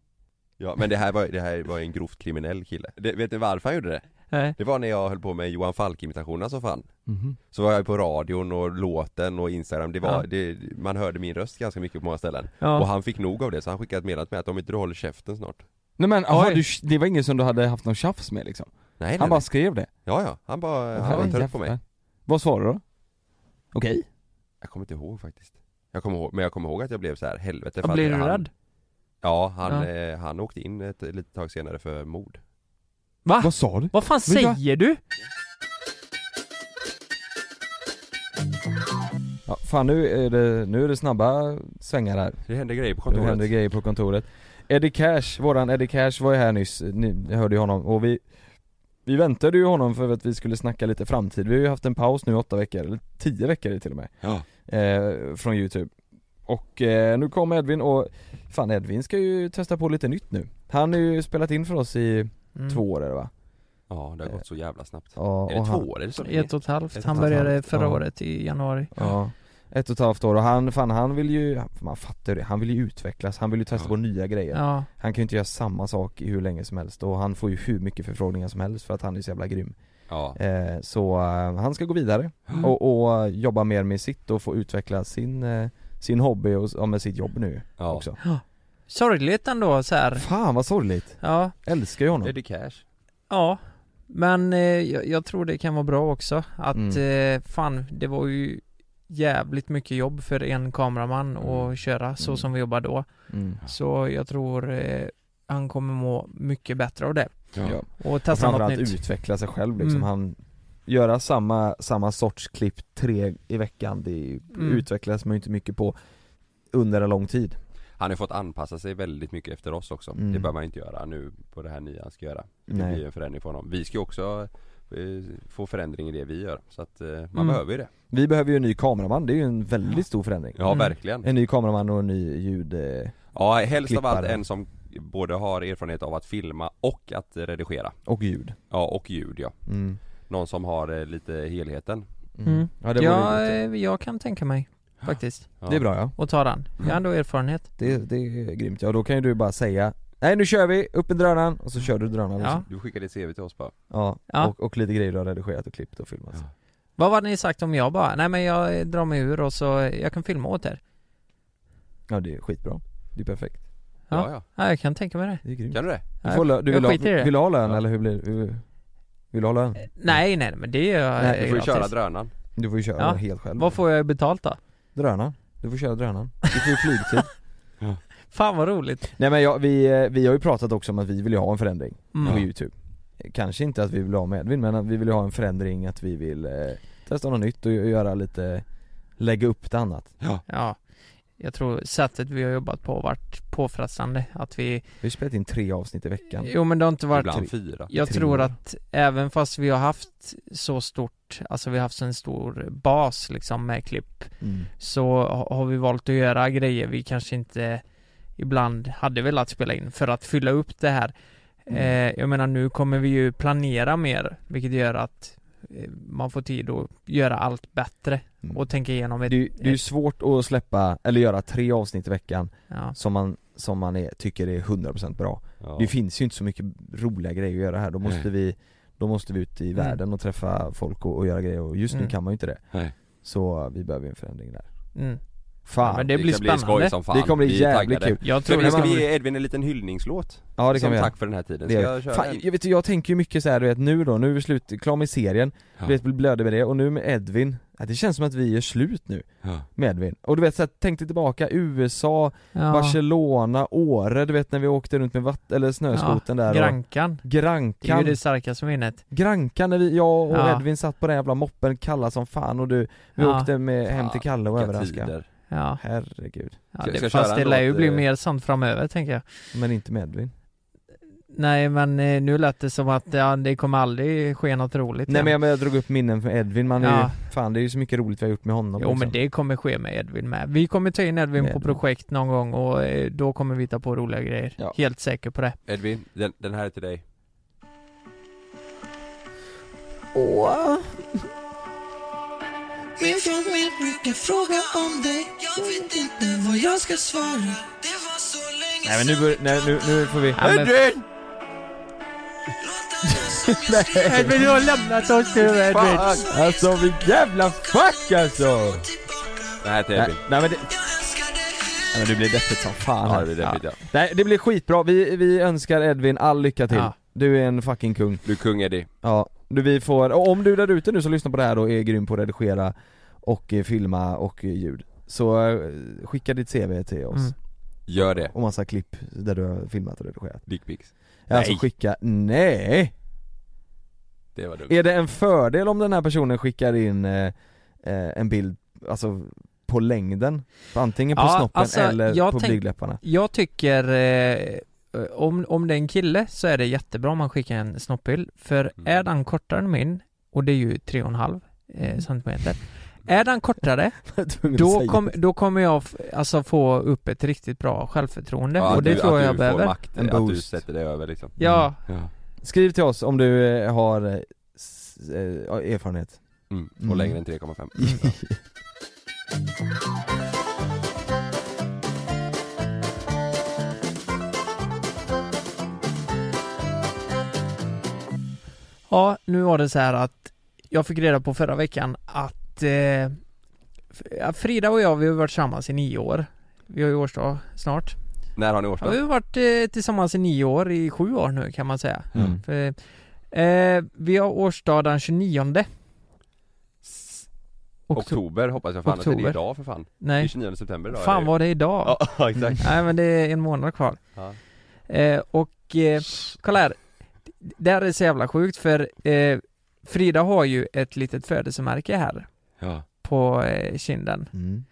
Ja men det här var, det här var en grovt kriminell kille. Det, vet ni varför han gjorde det? Nej. Det var när jag höll på med Johan Falk-imitationerna som fan. Mhm. Så var jag på radion och låten och instagram, det var, Ja. det, man hörde min röst ganska mycket på många ställen. Och Ja. han fick nog av det så han skickade ett meddelande till mig att om inte du håller käften snart. Nej men, aha, Oj. du, det var ingen som du hade haft någon tjafs med liksom? Nej, nej, Han bara nej. skrev det? Ja ja, han bara, Åh, han var trött på jävlar. mig. Vad svarade du då? Okej Jag kommer inte ihåg faktiskt. Jag kommer ihåg, men jag kommer ihåg att jag blev så här helvete Och att blir du han, rädd? Ja, han, Ja. Eh, han åkte in ett ett litet tag senare för mord. Va? Vad sa du? Vad fan Vet du vad? säger du? Ja, fan nu är, det, nu är det snabba svängar här Det hände grejer på Nu kontoret. händer grejer på kontoret Eddie Cash, våran Eddie Cash var ju här nyss, ni hörde ju honom och vi Vi väntade ju honom för att vi skulle snacka lite framtid, vi har ju haft en paus nu i åtta veckor, eller tio veckor till och med Ja. eh, Från youtube Och eh, nu kom Edvin och, fan Edvin ska ju testa på lite nytt nu Han har ju spelat in för oss i Mm. två år eller va? ja, det har gått så jävla snabbt. Ja, är det och två han- år eller så? Ett och ett Ett halvt. och Han ett halvt, började förra ja. året i januari. Ja, ett och ett halvt år och han, fan han vill ju, man fattar ju det, han vill ju utvecklas, han vill ju testa Ja. på nya grejer Ja. Han kan ju inte göra samma sak i hur länge som helst och han får ju hur mycket förfrågningar som helst för att han är så jävla grym Ja. eh, Så eh, han ska gå vidare Mm. och, och jobba mer med sitt och få utveckla sin, eh, sin hobby och ja, med sitt jobb nu ja. också Sorgligt ändå så här. Fan vad sorgligt, Ja. älskar ju honom Eddie Cash. Ja. Men eh, jag, jag tror det kan vara bra också att Mm. eh, fan, det var ju jävligt mycket jobb för en kameraman Mm. att köra så Mm. som vi jobbar då. mm. Så jag tror eh, han kommer må mycket bättre av det. ja. Ja. Och Och testa något Framförallt nytt. utveckla sig själv liksom, Mm. han Göra samma, samma sorts klipp tre i veckan, det Mm. utvecklas man ju inte mycket på under en lång tid Han har fått anpassa sig väldigt mycket efter oss också. Mm. Det bör man inte göra nu på det här nya han ska göra. Det Nej. blir ju en förändring för honom. Vi ska ju också eh, få förändring i det vi gör. Så att eh, man Mm. behöver ju det. Vi behöver ju en ny kameraman, det är ju en väldigt stor förändring Ja, Mm. verkligen. En ny kameraman och en ny ljud... eh, Ja, helst av allt Klippare. en som både har erfarenhet av att filma och att eh, redigera. och ljud Ja, och ljud ja. mm. Någon som har eh, lite helheten. Mm. Ja det, vore Ja, roligt. eh, jag kan tänka mig faktiskt. Ja. det är bra ja, Och ta den. Jag har ändå erfarenhet. det, det är grymt ja, då kan ju du bara säga Nej nu kör vi, upp med drönaren, och så kör du drönaren Ja. ja. Du skickade ett CV till oss bara. Ja. Ja. Och, och lite grejer du har redigerat och klippt och filmat Ja. Vad var det ni sagt om jag bara? Nej men jag eh, drar mig ur och så, eh, jag kan filma åt er. Ja det är skitbra, det är perfekt Ja, Ja. ja. Ja, jag kan tänka mig det. Det är grymt Kan du det? Du, får lö- du jag vill, ha, skiter i det. Eh, vill du ha lön Ja. eller hur blir hur, Vill du ha lön? Nej, nej men det är jag Nej, Du eh, får ju gratis. köra drönaren. Du får ju köra Ja. helt själv Vad får jag betalt då? Drönaren, du får köra drönaren, du får ju flygtid <laughs> Fan vad roligt. Nej men jag, vi, eh, vi har ju pratat också om att vi vill ju ha en förändring på Mm. youtube Kanske inte att vi vill ha med Edvin men att vi vill ha en förändring, att vi vill eh, testa något nytt och gö- göra lite, lägga upp det annat Ja. Jag tror sättet vi har jobbat på har varit påfrestande. Att vi, Vi har spelat in tre avsnitt i veckan jo men det har inte varit Ibland fyra. Jag Tre tror år. att även fast vi har haft så stort, alltså vi har haft en stor bas liksom med klipp mm. Så ha- har vi valt att göra grejer vi kanske inte ibland hade velat spela in för att fylla upp det här eh, Jag menar nu kommer vi ju planera mer vilket gör att eh, man får tid att göra allt bättre Mm. och tänka igenom Det, ett, är ju- det är ju svårt att släppa, eller göra tre avsnitt i veckan ja. som man, som man är, tycker är 100% bra Ja. Det finns ju inte så mycket roliga grejer att göra här, då måste Nej. vi då måste vi ut i Mm. världen och träffa folk och, och göra grejer och just Mm. nu kan man ju inte det Nej. Så vi behöver ju en förändring där mm. Fan, Ja, men det, det blir kan spännande. skoj som fan. kommer bli Vi är jävligt taggade. kul Jag Men tror vi det ska ska vi bli... ge Edvin en liten hyllningslåt? Ja det kan som vi göra tack för den här tiden. Det Ska gör jag köra Fan, en? jag, vet, jag tänker ju mycket så här, du vet nu då, nu är vi slut, klar med serien, Ja. du vet vi blöder med det och nu med Edvin, ja, det känns som att vi är slut nu Ja. med Edvin. Och du vet så här, tänkte tillbaka, USA, ja. Barcelona, Åre, du vet när vi åkte runt med vatt- eller snöskoten där och Grankan, det är ju Grankan, det starkaste minnet Grankan när vi, jag och Ja. Edvin satt på den jävla moppen kalla som fan och du, vi Ja. åkte med, hem till Fan, Kalle och Vilka överraskade tider. Ja, Herregud, ja Ska- det, ska jag köra fast det en lär ju låt, bli eh? mer sånt framöver tänker jag men inte med Edvin Nej men eh, nu lät det som att ja, det kommer aldrig ske något roligt Nej igen. men jag, men jag drog upp minnen från Edvin, man är ju, Ja. fan det är ju så mycket roligt vi har gjort med honom liksom. Jo men det kommer ske med Edvin med. Vi kommer ta in Edvin Med på Edvin. projekt någon gång och eh, då kommer vi ta på roliga grejer. Ja. Helt säker på det. Edvin, den, den här är till dig. Åh. Min familj brukar fråga om dig Jag vet inte vad jag ska svara Det var så länge Nej men nu, bör, nej, nu, nu får vi... Ja, men- Edvin! Edvin, du har lämnat oss nu Fan! Alltså vilken jävla fuck alltså! Nej, det är Nej, Edvin. nej men det... Nej, men det blir deppigt som fan Ja, här. det blir deppigt, ja. Nej det blir skitbra, vi, vi önskar Edvin all lycka till. Ja. Du är en fucking kung. Du är kung Eddie. Ja, du, vi får, och om du där ute nu som lyssnar på det här då är grym på att redigera och eh, filma och eh, ljud Så eh, skicka ditt CV till oss Mm. Gör det. och massa klipp där du har filmat och redigerat Dickpics. Nej. Alltså Nej. skicka, nej! Det var dumt. Är det en fördel om den här personen skickar in eh, eh, en bild, alltså på längden? Antingen på Ja, snoppen alltså, eller jag på tänk- blygdläpparna <laughs> Jag tycker, eh, om, om det är en kille så är det jättebra om man skickar en snoppbild. För Mm. är den kortare än min, och det är ju 3,5 eh, Mm. centimeter. Är den kortare, Jag är tvungen att då, säga kom, då kommer jag f- alltså få upp ett riktigt bra självförtroende. Ja, och att det du, tror att jag du behöver. Får makt, En att du boost. sätter dig över liksom. Ja, Ja. Skriv till oss om du eh, har eh, s- eh, ja, erfarenhet Mm. Och Mm. längre än 3,5. ja, nu var det så här att jag fick reda på förra veckan att eh, F- ja, Frida och jag, vi har varit tillsammans i nio år. Vi har ju årsdag snart. När har ni Ja, vi årsdag? har varit eh, tillsammans i nio år, i sju år nu kan man säga. Mm. För, eh, vi har årsdag den 29 S- oktober. Oktober hoppas jag fan att det är Oktober. idag för fan. Det är Nej, 29 september idag. fan Mm. var det idag? Ja, ja, <laughs> exakt. Nej men det är en månad kvar. Ja. Eh, och eh, kolla här. Det här är så jävla sjukt för eh, Frida har ju ett litet födelsemärke här Ja. på eh, kinden. Mm.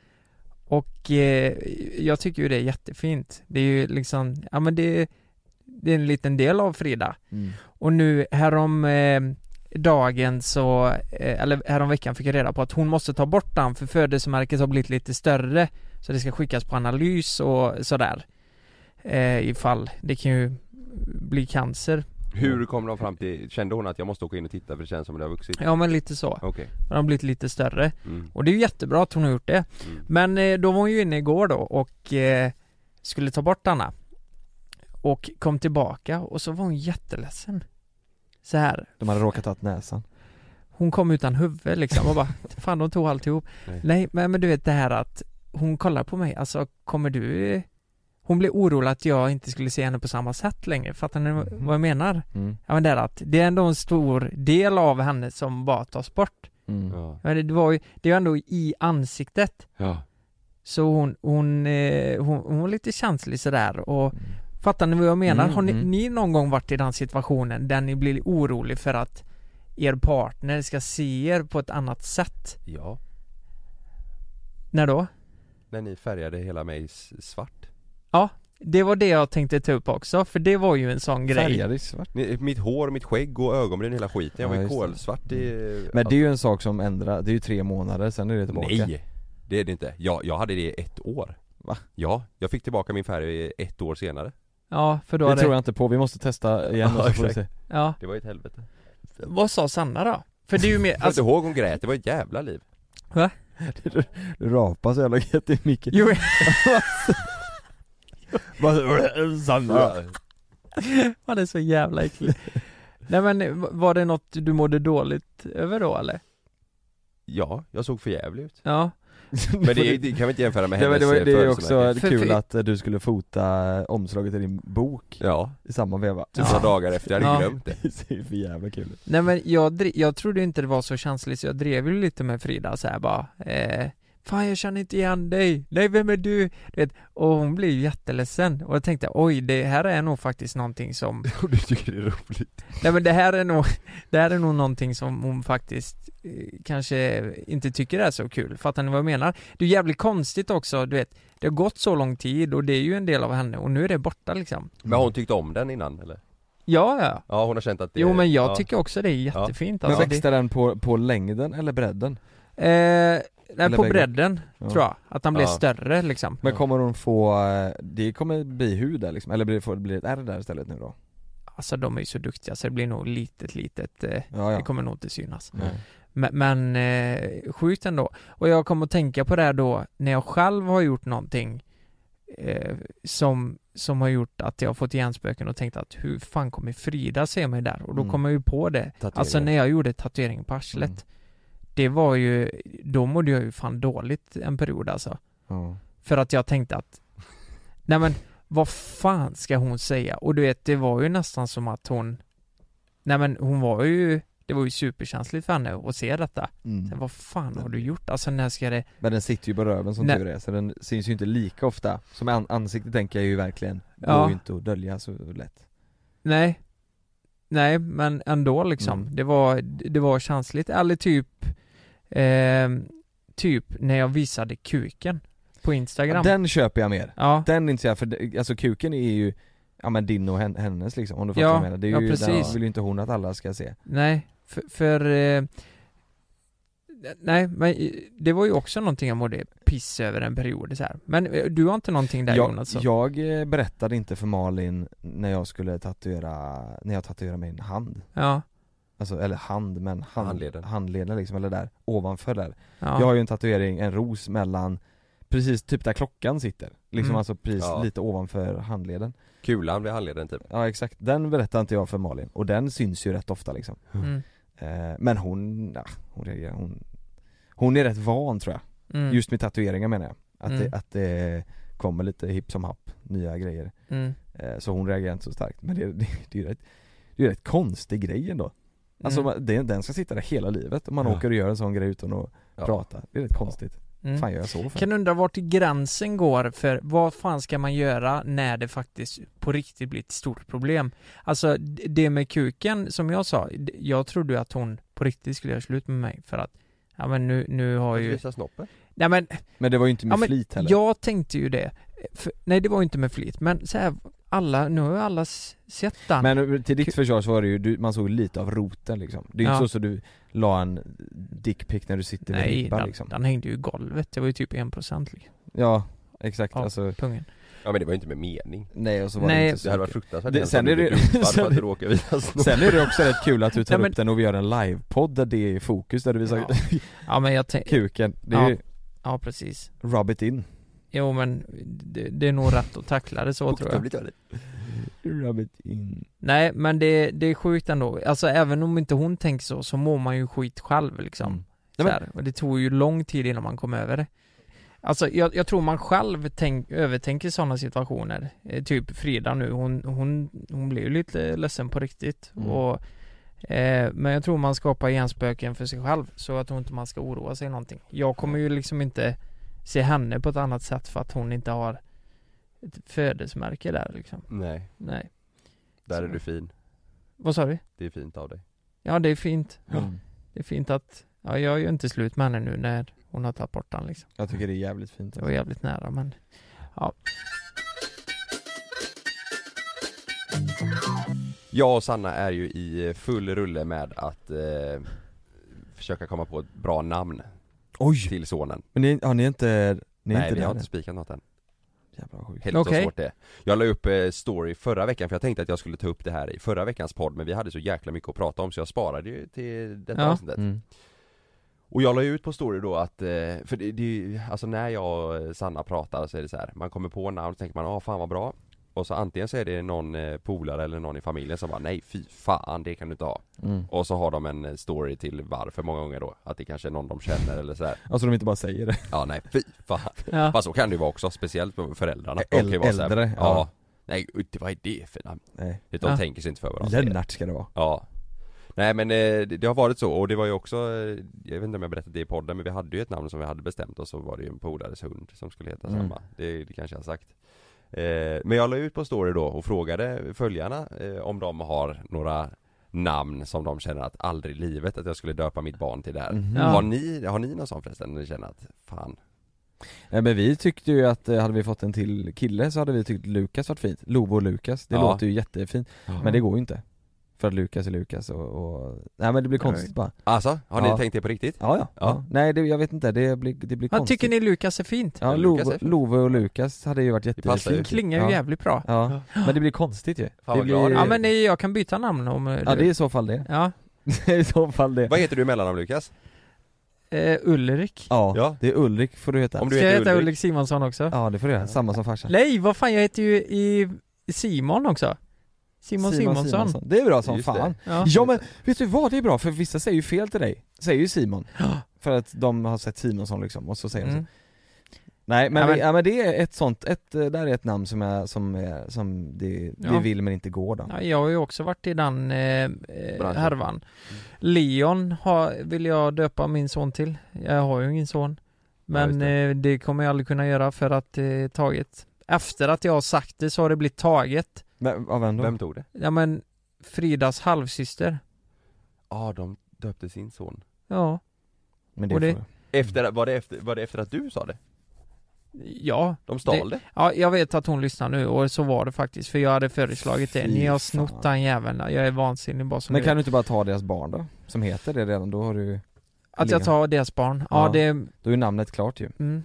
Och eh, jag tycker ju det är jättefint. Det är ju liksom, ja men det, det är en liten del av Frida. Mm. Och nu härom eh, dagen så, eh, eller härom veckan fick jag reda på att hon måste ta bort den för födelsemärket har blivit lite större Så det ska skickas på analys och sådär eh, Ifall, det kan ju bli cancer Hur kom de fram till, kände hon att jag måste åka in och titta för det känns som att det har vuxit? Ja men lite så, Okej. den har blivit lite större Mm. Och det är ju jättebra att hon har gjort det Mm. Men eh, då var hon ju inne igår då och eh, skulle ta bort denna Och kom tillbaka och så var hon jätteledsen så här De hade råkat tagit näsan Hon kom utan huvud liksom och bara Fan de tog alltihop Nej. Nej, Nej men, men du vet det här att Hon kollar på mig, alltså kommer du Hon blev orolig att jag inte skulle se henne på samma sätt längre Fattar ni Mhm. vad jag menar? mm. Ja men det är att Det är ändå en stor del av henne som bara tas bort Mm. Ja. men det, det var ju Det är ju ändå i ansiktet ja. Så hon, hon, eh, hon, hon var lite känslig sådär och Fattar ni vad jag menar? Mm, Har ni, mm. ni någon gång varit i den situationen där ni blir orolig för att er partner ska se er på ett annat sätt? Ja. När då? När ni färgade hela mig s- svart. Det var det jag tänkte ta upp också, för det var ju en sån grej Färgade i svart. Ni- Mitt hår, mitt skägg och ögonbryn, hela skiten. Jag var Ja, ju just det. kolsvart i... Mm. Men det är ju en sak som ändrar, det är ju tre månader, sen är det tillbaka Nej! Det är det inte. Jag, jag hade det i ett år. Va? Ja, jag fick tillbaka min färg ett år senare. Ja, för då Det hade... tror jag inte på, vi måste testa igen och Ja, så får vi se Ja, Det var ju ett helvete. vad sa Sanna då? För det är ju mer, <laughs> Jag alltså... alltså, inte ihåg hon grät, det var ett jävla liv. Du rapar så jävla gött i micken <laughs> jo, Sanna man är så jävla äcklig Nej men, var det något du mådde dåligt över då eller? Ja, jag såg för jävlig <laughs> ut. Ja, Men det, det kan vi inte jämföra med Nej, men hennes eh, det, var, det är ju födelsemärke. också För- kul för- att eh, du skulle fota eh, omslaget till din bok Ja, i samma veva typ några dagar efter, jag hade Ja. glömt det. <laughs> Det ser ju för jävla kul ut nej men jag, dri- jag trodde inte det var så känsligt så jag drev ju lite med Frida så här bara eh, Fan jag känner inte igen dig, nej vem är du? du vet, och hon blev ju jätteledsen och jag tänkte oj det här är nog faktiskt <laughs> någonting som Och du tycker det är roligt. Nej men det här är nog, det här är nog någonting som hon faktiskt eh, kanske inte tycker är så kul, fattar ni vad jag menar? Det är jävligt konstigt också, du vet, det har gått så lång tid och det är ju en del av henne och nu är det borta liksom Men hon tyckte om den innan eller? Ja, ja. Ja hon har känt att det Jo men jag ja. tycker också det är jättefint Men alltså, det, växte den på, på längden eller bredden? eh, Nej Eller på bägge. bredden, Ja. tror jag, att han blev Ja. större liksom Men kommer hon få, eh, det kommer bli hud där liksom, eller blir, får det bli ett ärr där istället nu då? alltså de är ju så duktiga så det blir nog litet, litet, eh, Ja, det kommer nog inte synas. Mm. Men, men eh, sjukt ändå. Och jag kom att tänka på det här då när jag själv har gjort någonting eh, som, som har gjort att jag har fått hjärnspöken och tänkt att hur fan kommer Frida se mig där? Och då Mm. kom jag ju på det. Alltså när jag gjorde tatueringen på arslet, Mm. det var ju, då mådde jag ju fan dåligt en period alltså. Ja. För att jag tänkte att Nej men vad fan ska hon säga? Och du vet det var ju nästan som att hon Nej men hon var ju Det var ju superkänsligt för henne att se detta Mm. Vad fan har du gjort? Alltså när ska det Men den sitter ju på röven som Nej. tur är, så den syns ju inte lika ofta Som an- ansiktet tänker jag ju verkligen, Ja. går ju inte att dölja så lätt Nej Nej men ändå liksom Mm. Det var Det var känsligt eller typ eh, Typ när jag visade kuken På Instagram Den köper jag mer, Ja den är inte så jag, för det- alltså kuken är ju Ja men din och hen- hennes liksom, om du fattar Ja, vad jag menar, det är ja, ju, precis. den vill ju inte hon att alla ska se Nej, för, för eh, Nej, men eh, det var ju också någonting jag mådde piss över en period så här. Men eh, du har inte någonting där jag, Jonas? så- jag eh, berättade inte för Malin när jag skulle tatuera, när jag tatuerade min hand Ja, Alltså, eller hand men hand, Handleden. handleden. liksom, eller där, ovanför där ja, Jag har ju en tatuering, en ros mellan Precis typ där klockan sitter, liksom Mm. alltså precis Ja. lite ovanför handleden Kulan blir handleden typ Ja exakt, den berättar inte jag för Malin, och den syns ju rätt ofta liksom mm, eh, Men hon, ja, hon reagerar, hon Hon är rätt van tror jag, mm, just med tatueringar menar jag Att, Mm. det, att det kommer lite hipp som happ, nya grejer mm. eh, Så hon reagerar inte så starkt, men det, det, det är ju rätt, det är ju rätt konstig grej ändå Alltså mm, man- den, den ska sitta där hela livet om man Ja. åker och gör en sån grej utan att Ja. prata, det är rätt konstigt. mm. Fan gör jag så för? Kan undra vart gränsen går för vad fan ska man göra när det faktiskt på riktigt blir ett stort problem? Alltså d- det med kuken som jag sa, d- jag trodde ju att hon på riktigt skulle göra slut med mig för att Ja men nu, nu har Alltså, Varför ju... visar snoppen? Nej men Men det var ju inte med Ja, men flit heller. Jag tänkte ju det. För, nej det var ju inte med flit, men så här, alla, nu har ju alla s- sett den. Men eh, till Ku- ditt försvar så var det ju, du, man såg lite av roten liksom. Det är ju Ja. inte så att du la en dickpic när du sitter vid nej, ribban den, liksom. den hängde ju i golvet. Det var ju typ 1% liksom, Ja, exakt Ja. alltså, pungen. Ja men det var ju inte med mening nej och så var Nej. det inte Det så hade varit mycket. fruktansvärt Det- hemskt sen om du är det- blev utsatt för <laughs> sen- att du råkar visa snoppen <laughs> Sen är det också rätt kul att du tar Nej, men- upp den och vi gör en livepodd där det är i fokus, där du visar Ja. Ja men jag tänkte, kuken. Det är Ja. ju ja precis. rub it in. Jo men det, det är nog rätt att tackla det så tror jag. Bokstavligt talat. Rub it in. Nej men det, det är sjukt ändå. Alltså även om inte hon tänker så, så mår man ju skit själv liksom. Mm. Så Nej, men- här. Och det tog ju lång tid innan man kom över det. Alltså jag, jag tror man själv tänk, övertänker sådana situationer. Eh, typ Frida nu, hon, hon, hon blev ju lite ledsen på riktigt. Mm. Och, eh, men jag tror man skapar hjärnspöken för sig själv. Så jag tror inte man ska oroa sig någonting. Jag kommer ju liksom inte se henne på ett annat sätt för att hon inte har ett födelsemärke där liksom. Nej, Nej. där är Så. du fin Vad sa du? Det är fint av dig Ja det är fint. Mm. Det är fint att, ja jag är ju inte slut med henne nu när hon har tagit bort den liksom. Jag tycker det är jävligt fint. Det var jävligt nära men Jag och Sanna är ju i full rulle med att eh, försöka komma på ett bra namn Oj! till sonen Men ni, har ni inte, ni är Nej inte vi där har än? inte spikat något än Jävla sjukt. Helvete Okej. vad svårt det är. Jag la upp eh, story förra veckan för jag tänkte att jag skulle ta upp det här i förra veckans podd men vi hade så jäkla mycket att prata om så jag sparade ju till detta Ja. avsnittet Mm. Och jag la ju ut på story då att, eh, för det, det är ju- alltså när jag och Sanna pratar så är det så här, man kommer på namn och tänker man ah fan vad bra Och så antingen så är det någon eh, polare eller någon i familjen som bara nej fy fan det kan du inte ha Mm. Och så har de en eh, story till varför många gånger då, att det kanske är någon de känner eller så här. Alltså de inte bara säger det. ja nej fy <laughs> fan ja. Fast så kan det ju vara också, speciellt på föräldrarna Äl- De kan ju vara så här, äldre, ja. ja. Nej, ut- vad är det för namn? Nej. Utan Ja. de tänker sig inte för vad de säger. Lennart ska det vara. Ja Nej men eh, det det har varit så och det var ju också, eh, jag vet inte om jag berättade det i podden men vi hade ju ett namn som vi hade bestämt och så var det ju en polares hund som skulle heta Mm. samma, det, det kanske jag har sagt eh, Men jag la ut på story då och frågade följarna eh, om de har några namn som de känner att aldrig i livet att jag skulle döpa mitt barn till det här Mhm. Ja. Har ni, har ni någon sån förresten? Ni känner att, fan, Nej men vi tyckte ju att eh, hade vi fått en till kille så hade vi tyckt Lukas varit fint. Lobo och Lukas, det Ja. låter ju jättefint. Men det går ju inte. För att Lukas är Lukas och, och... Nej men det blir konstigt bara Alltså, har ni Ja. tänkt det på riktigt? Ja ja, Ja. ja. nej det, jag vet inte, det blir, det blir Ja, konstigt tycker ni Lukas är fint? Ja, Ja, Lukas Love, är fin. Love och Lukas hade ju varit passar ju. jättefint Klingar ju Ja. jävligt bra Ja, men det blir konstigt ju vad det glad blir... jag Ja men det- jag kan byta namn om eh, ja du- det är i så fall det, ja. <laughs> det är i så fall det Vad heter du i mellannamn Lukas? Eh, Ulrik ja, Ja. det är Ulrik får du heta Om du Ska jag heter heta Ulrik? Ulrik Simonsson också? Ja det får du göra, samma som farsan Nej vad fan jag heter ju i i Simon också Simon, Simonsson, Det är bra som Just fan Ja. Ja men, vet du vad? Det är bra för vissa säger ju fel till dig, säger ju Simon För att de har sett Simonsson liksom, och så säger de så Mm. Nej men, Ja, ja, men- men, det är ett sånt, ett, eh, där är ett namn som är, som, är, som det, Ja. det vill men inte går då Ja, jag har ju också varit i den eh, eh, Branschen. härvan Leon har, vill jag döpa min son till Jag har ju ingen son Men Ja, eh, det kommer jag aldrig kunna göra för att det är taget Efter att jag har sagt det så har det blivit taget Vem, av vem då? Vem tog det? Ja men Fridas halvsyster Ja, de döpte sin son Ja, Men det, Och det- får- efter, var, det efter, var det efter att du sa det? ja De stal det? Ja, jag vet att hon lyssnar nu och så var det faktiskt för jag hade föreslagit det. Fy Ni har fan. snott den jäveln, jag är vansinnig bara som Men ni vet. kan du inte bara ta deras barn då? Som heter det redan, då har du Att jag tar deras barn, ja, Ja. det, Då är namnet klart ju mm.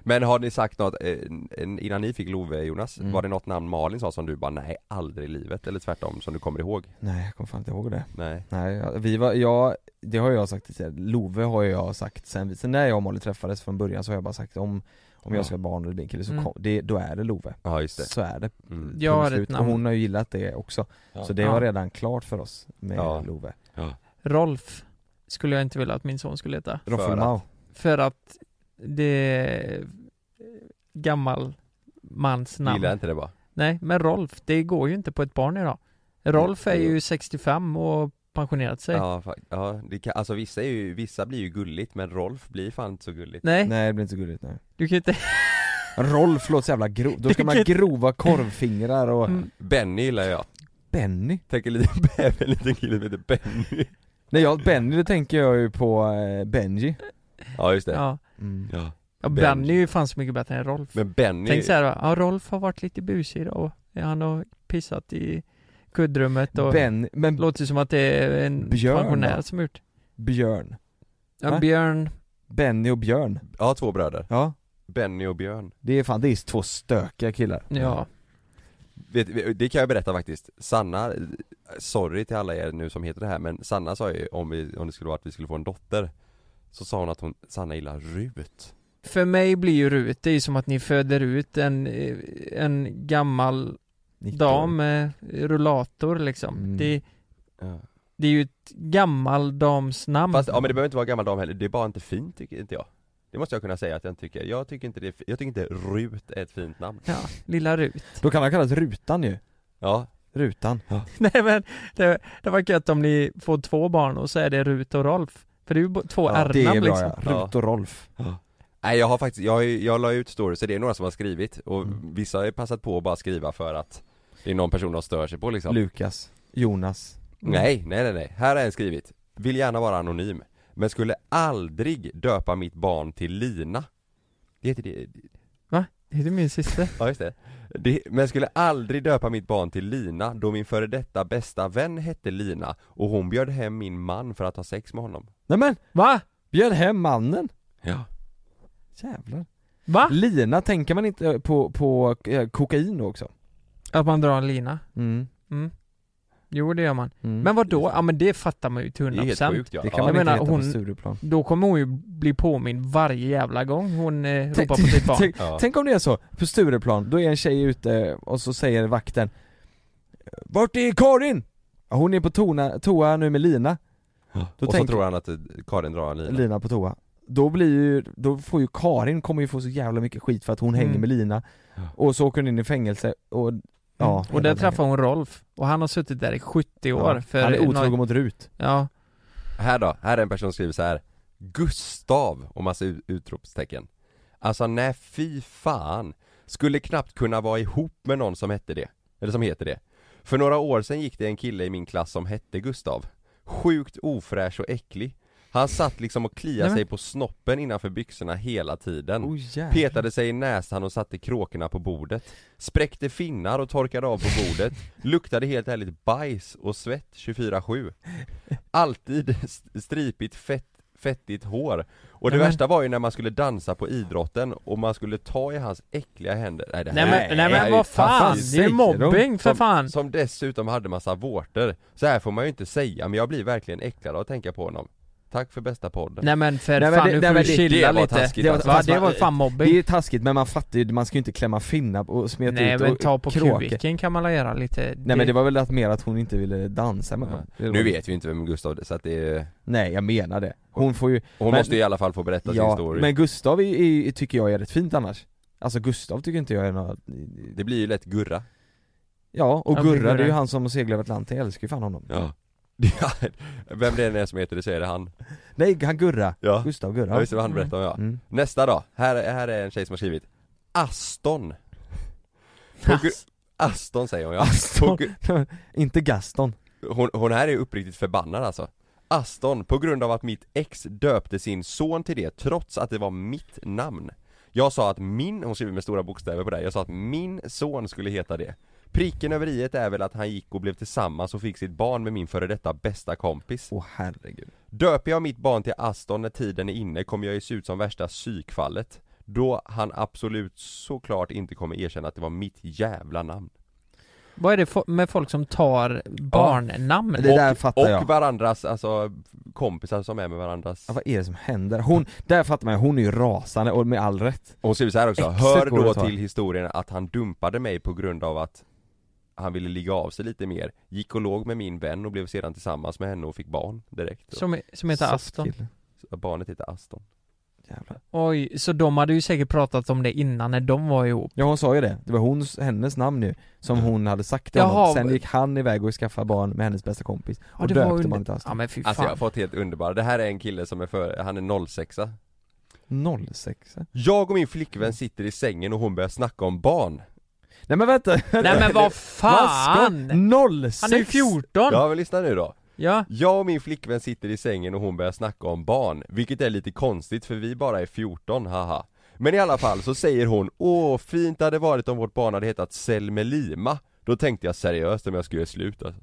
Men har ni sagt något, eh, en- innan ni fick Love Jonas, Mm. var det något namn Malin sa som du bara nej, aldrig i livet? Eller tvärtom, som du kommer ihåg? Nej jag kommer fan inte ihåg det Nej Nej, ja, vi var, jag, det har jag sagt tidigare, Love har jag sagt sen, vi- sen när jag och Molly träffades från början så har jag bara sagt om, om Ja. jag ska ha barn eller bli en kille så Mm. kom, det, då är det Love, Ja just det så är det mm. Jag punkt har ett slut. Och namn, hon har ju gillat det också, Ja. så det Ja. var redan klart för oss med Ja. Love Rolf Skulle jag inte vilja att min son skulle heta För att- Roffelmau, För att det är gammal mans Gillar namn jag inte det bara? Nej, men Rolf, det går ju inte på ett barn idag Rolf är ju 65 och pensionerat sig Ja, fa- ja det kan, alltså vissa är ju, vissa blir ju gulligt men Rolf blir fan inte så gulligt Nej, nej det blir inte så gulligt nu du kan ju inte Rolf låter så jävla grov, då ska man ha Vilket- grova korvfingrar och Mm. Benny gillar jag, Benny tänker lite <laughs> bäver, en liten kille som heter Benny Nej jag, Benny det tänker jag ju på eh, Benji Ja just det Ja, mm. Ja. ja Benji. Benny är ju fan så mycket bättre än Rolf Men Benny, Tänk såhär, va, ja Rolf har varit lite busig idag och han har pissat i kuddrummet och Ben, men låter som att det är en Björn, pensionär va? som gjort Björn, ja, Va? Björn, Benny och Björn, ja två bröder, ja Benny och Björn Det är fan, det är två stökiga killar ja, Vet, det kan jag berätta faktiskt, Sanna, sorry till alla er nu som heter det här men Sanna sa ju om, vi, om det skulle vara att vi skulle få en dotter Så sa hon att hon, Sanna gillar Rut För mig blir ju Rut, det är ju som att ni föder ut en, eh, en gammal dam med rullator liksom Mm. det, det är ju ett gammaldomsnamn Fast, ja men det behöver inte vara gammal dam heller, det är bara inte fint tycker inte jag Det måste jag kunna säga att jag inte tycker, jag tycker inte det är, fi- jag tycker inte Rut är ett fint namn Ja, lilla Rut Då kan han kallas Rutan ju, Ja, Rutan <laughs> Nej men, det, det var gött om ni får två barn och så är det Rut och Rolf För det är ju bo- två Ja, r-namn Det är bra liksom ja, Rut och Rolf nej jag har faktiskt, jag, har ju- jag la ut stories, så det är några som har skrivit och Mm. vissa har ju passat på att bara skriva för att det är någon person de stör sig på liksom Lukas, Jonas Mm. Nej, nej, nej, nej. Här är en skrivit. Vill gärna vara anonym, men skulle aldrig döpa mitt barn till Lina. Det heter det. Det är min syster Ja, just det. det. Men skulle aldrig döpa mitt barn till Lina då min före detta bästa vän hette Lina och hon bjöd hem min man för att ha sex med honom. Nej men, Va? bjöd hem mannen! Ja. Jävlar Va? Lina, tänker man inte på, på eh, kokain då också? Att man drar en lina? Mm. Mm. Jo det gör man. Mm. Men vad då? Ja men det fattar man ju till Det är helt 100% sjukt ja. Det kan ja. man jag inte menar, heta hon- på Stureplan Då kommer hon ju bli påmind varje jävla gång hon eh, ropar på <laughs> sitt barn. Tänk, Ja. tänk om det är så, på Stureplan, då är en tjej ute och så säger vakten Vart är Karin? Ja, Hon är på tona, toa nu med Lina, Då och så tänker- tror han att eh, Karin drar en Lina. Lina på toa Då blir ju, då får ju Karin, kommer ju få så jävla mycket skit för att hon Mm. hänger med Lina Ja. Och så åker hon in i fängelse och, ja Mm. och där träffar hon Rolf. Och han har suttit där i 70 år för Han är otrogen någon- mot Rut Ja. Här då, här är en person som skriver så här. Gustav och massa ut- utropstecken. Alltså nej fy fan. Skulle knappt kunna vara ihop med någon som hette det. Eller som heter det. För några år sedan gick det en kille i min klass som hette Gustav. Sjukt ofräsch och äcklig. Han satt liksom och kliade Nej, men- sig på snoppen innanför byxorna hela tiden Oh, jävlar. Petade sig i näsan och satte kråkorna på bordet Spräckte finnar och torkade av på bordet Luktade helt ärligt bajs och svett 24-7 Alltid st- stripigt fett, fettigt hår Och det Nej, men- värsta var ju när man skulle dansa på idrotten och man skulle ta i hans äckliga händer Nej det här Nej är- men, nej, det här är men ju vad fan, fantastiskt. det är ju säger de? mobbing för Som- fan! Som dessutom hade massa vårtor Så här får man ju inte säga men jag blir verkligen äcklad av att tänka på honom Tack för bästa podden Nej men för Nej, men fan, det- nu nej, får men du det- chilla det var lite. taskigt, det, alltså. var, Fast det man- var fan Det mobbing. är ju taskigt men man fattar ju, man ska ju inte klämma finnar och smeta nej ut men och ta på kråka. kubiken kan man la göra lite. Nej men det var väl att mer att hon inte ville dansa med honom Det var- Nu vet vi inte vem Gustav är så att det är... Nej jag menar det, hon får ju, Hon Men- måste ju i alla fall få berätta sin ja, story men Gustav är, är, tycker jag är rätt fint annars Alltså Gustav tycker inte jag är något, Det blir ju lätt Gurra ja och Ja, men Gurra Gurra. det är ju han som seglar över Atlanten, jag älskar ju fan honom <laughs> Ja Vem det än är som heter det så är det han Nej han Gurra, Ja, Gustav ja Gurra just det vad han berättade om ja mm. Nästa då, här, här är en tjej som har skrivit Aston På gru- Aston säger hon ja På <laughs> Aston, gru- inte Gaston hon, hon här är uppriktigt förbannad alltså Aston, på grund av att mitt ex döpte sin son till det trots att det var mitt namn Jag sa att min, hon skriver med stora bokstäver på det här, jag sa att min son skulle heta det Pricken över iet är väl att han gick och blev tillsammans och fick sitt barn med min före detta bästa kompis Åh herregud Döper jag mitt barn till Aston när tiden är inne kommer jag ju se ut som värsta psykfallet Då han absolut såklart inte kommer erkänna att det var mitt jävla namn Vad är det fo- med folk som tar barnnamn? Det där fattar Och jag varandras, alltså kompisar som är med varandras Ja, vad är det som händer? Hon, där fattar man ju, hon är ju rasande och med all rätt Hon skriver så här också, Exet hör går det då att ta. till historien att han dumpade mig på grund av att han ville ligga av sig lite mer, gick och låg med min vän och blev sedan tillsammans med henne och fick barn direkt. Som, som heter Soft Aston. kille. Så barnet heter Aston. Jävlar. Oj, så de hade ju säkert pratat om det innan när de var ihop. Ja hon sa ju det, det var hon, hennes namn nu som hon hade sagt till Jaha. honom, sen gick han iväg och skaffade barn med hennes bästa kompis Ja, och det var döpte under- barnet till Ja Aston men fy fan. Alltså jag har fått helt underbara, det här är en kille som är för, han är 06 06 Jag och min flickvän sitter i sängen och hon börjar snacka om barn. Nej men vänta! Nej men <laughs> vad fan! Fan! 06! Han är <laughs> 14! Ja. Ja men lyssna nu då. Jag och min flickvän sitter i sängen och hon börjar snacka om barn, vilket är lite konstigt för vi bara är 14, haha. Men i alla fall så säger hon 'Åh, fint det hade varit om vårt barn hade hetat Selmelima' Då tänkte jag seriöst om jag skulle göra slut alltså.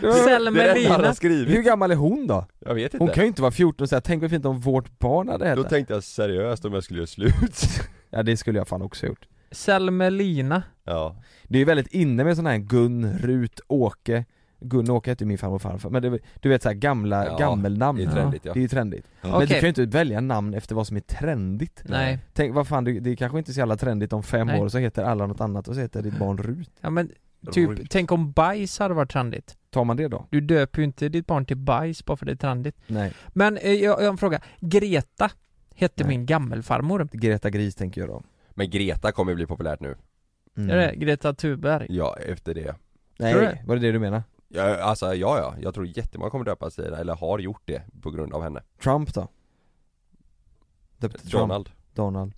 Det är det han har Selmelina. skrivit, Hur gammal är hon då? jag vet Hon inte. kan ju inte vara 14 och säga 'Tänk vad fint om vårt barn hade Då hetat' tänkte jag seriöst om jag skulle göra slut. <laughs> Ja det skulle jag fan också ha gjort Selmelina. Ja. Det är ju väldigt inne med sådana här Gun, Rut, Åke Gun och Åke hette ju min farmor och farfar, men det, du vet såhär gamla, Ja, gammelnamn det är trendigt, ja. Det är ju trendigt Men Okej. du kan ju inte välja namn efter vad som är trendigt Nej. Tänk vad fan, det, det är kanske inte är så jävla trendigt om fem Nej. år så heter alla något annat och så heter ditt barn Rut Ja men typ, tänk om bajs hade varit trendigt. Tar man det då? Du döper ju inte ditt barn till bajs bara för det är trendigt. Nej Men eh, jag, jag har en fråga. Greta hette Nej. min gammelfarmor. Greta Gris tänker jag då Men Greta kommer ju bli populärt nu. Mm. Är det Greta Thunberg? Ja, efter det. Tror du Nej, det? var det det du menar? Ja, alltså ja, ja. Jag tror jättemånga kommer döpa sig, eller har gjort det, på grund av henne. Trump då? Döpte Trump, Donald. Donald.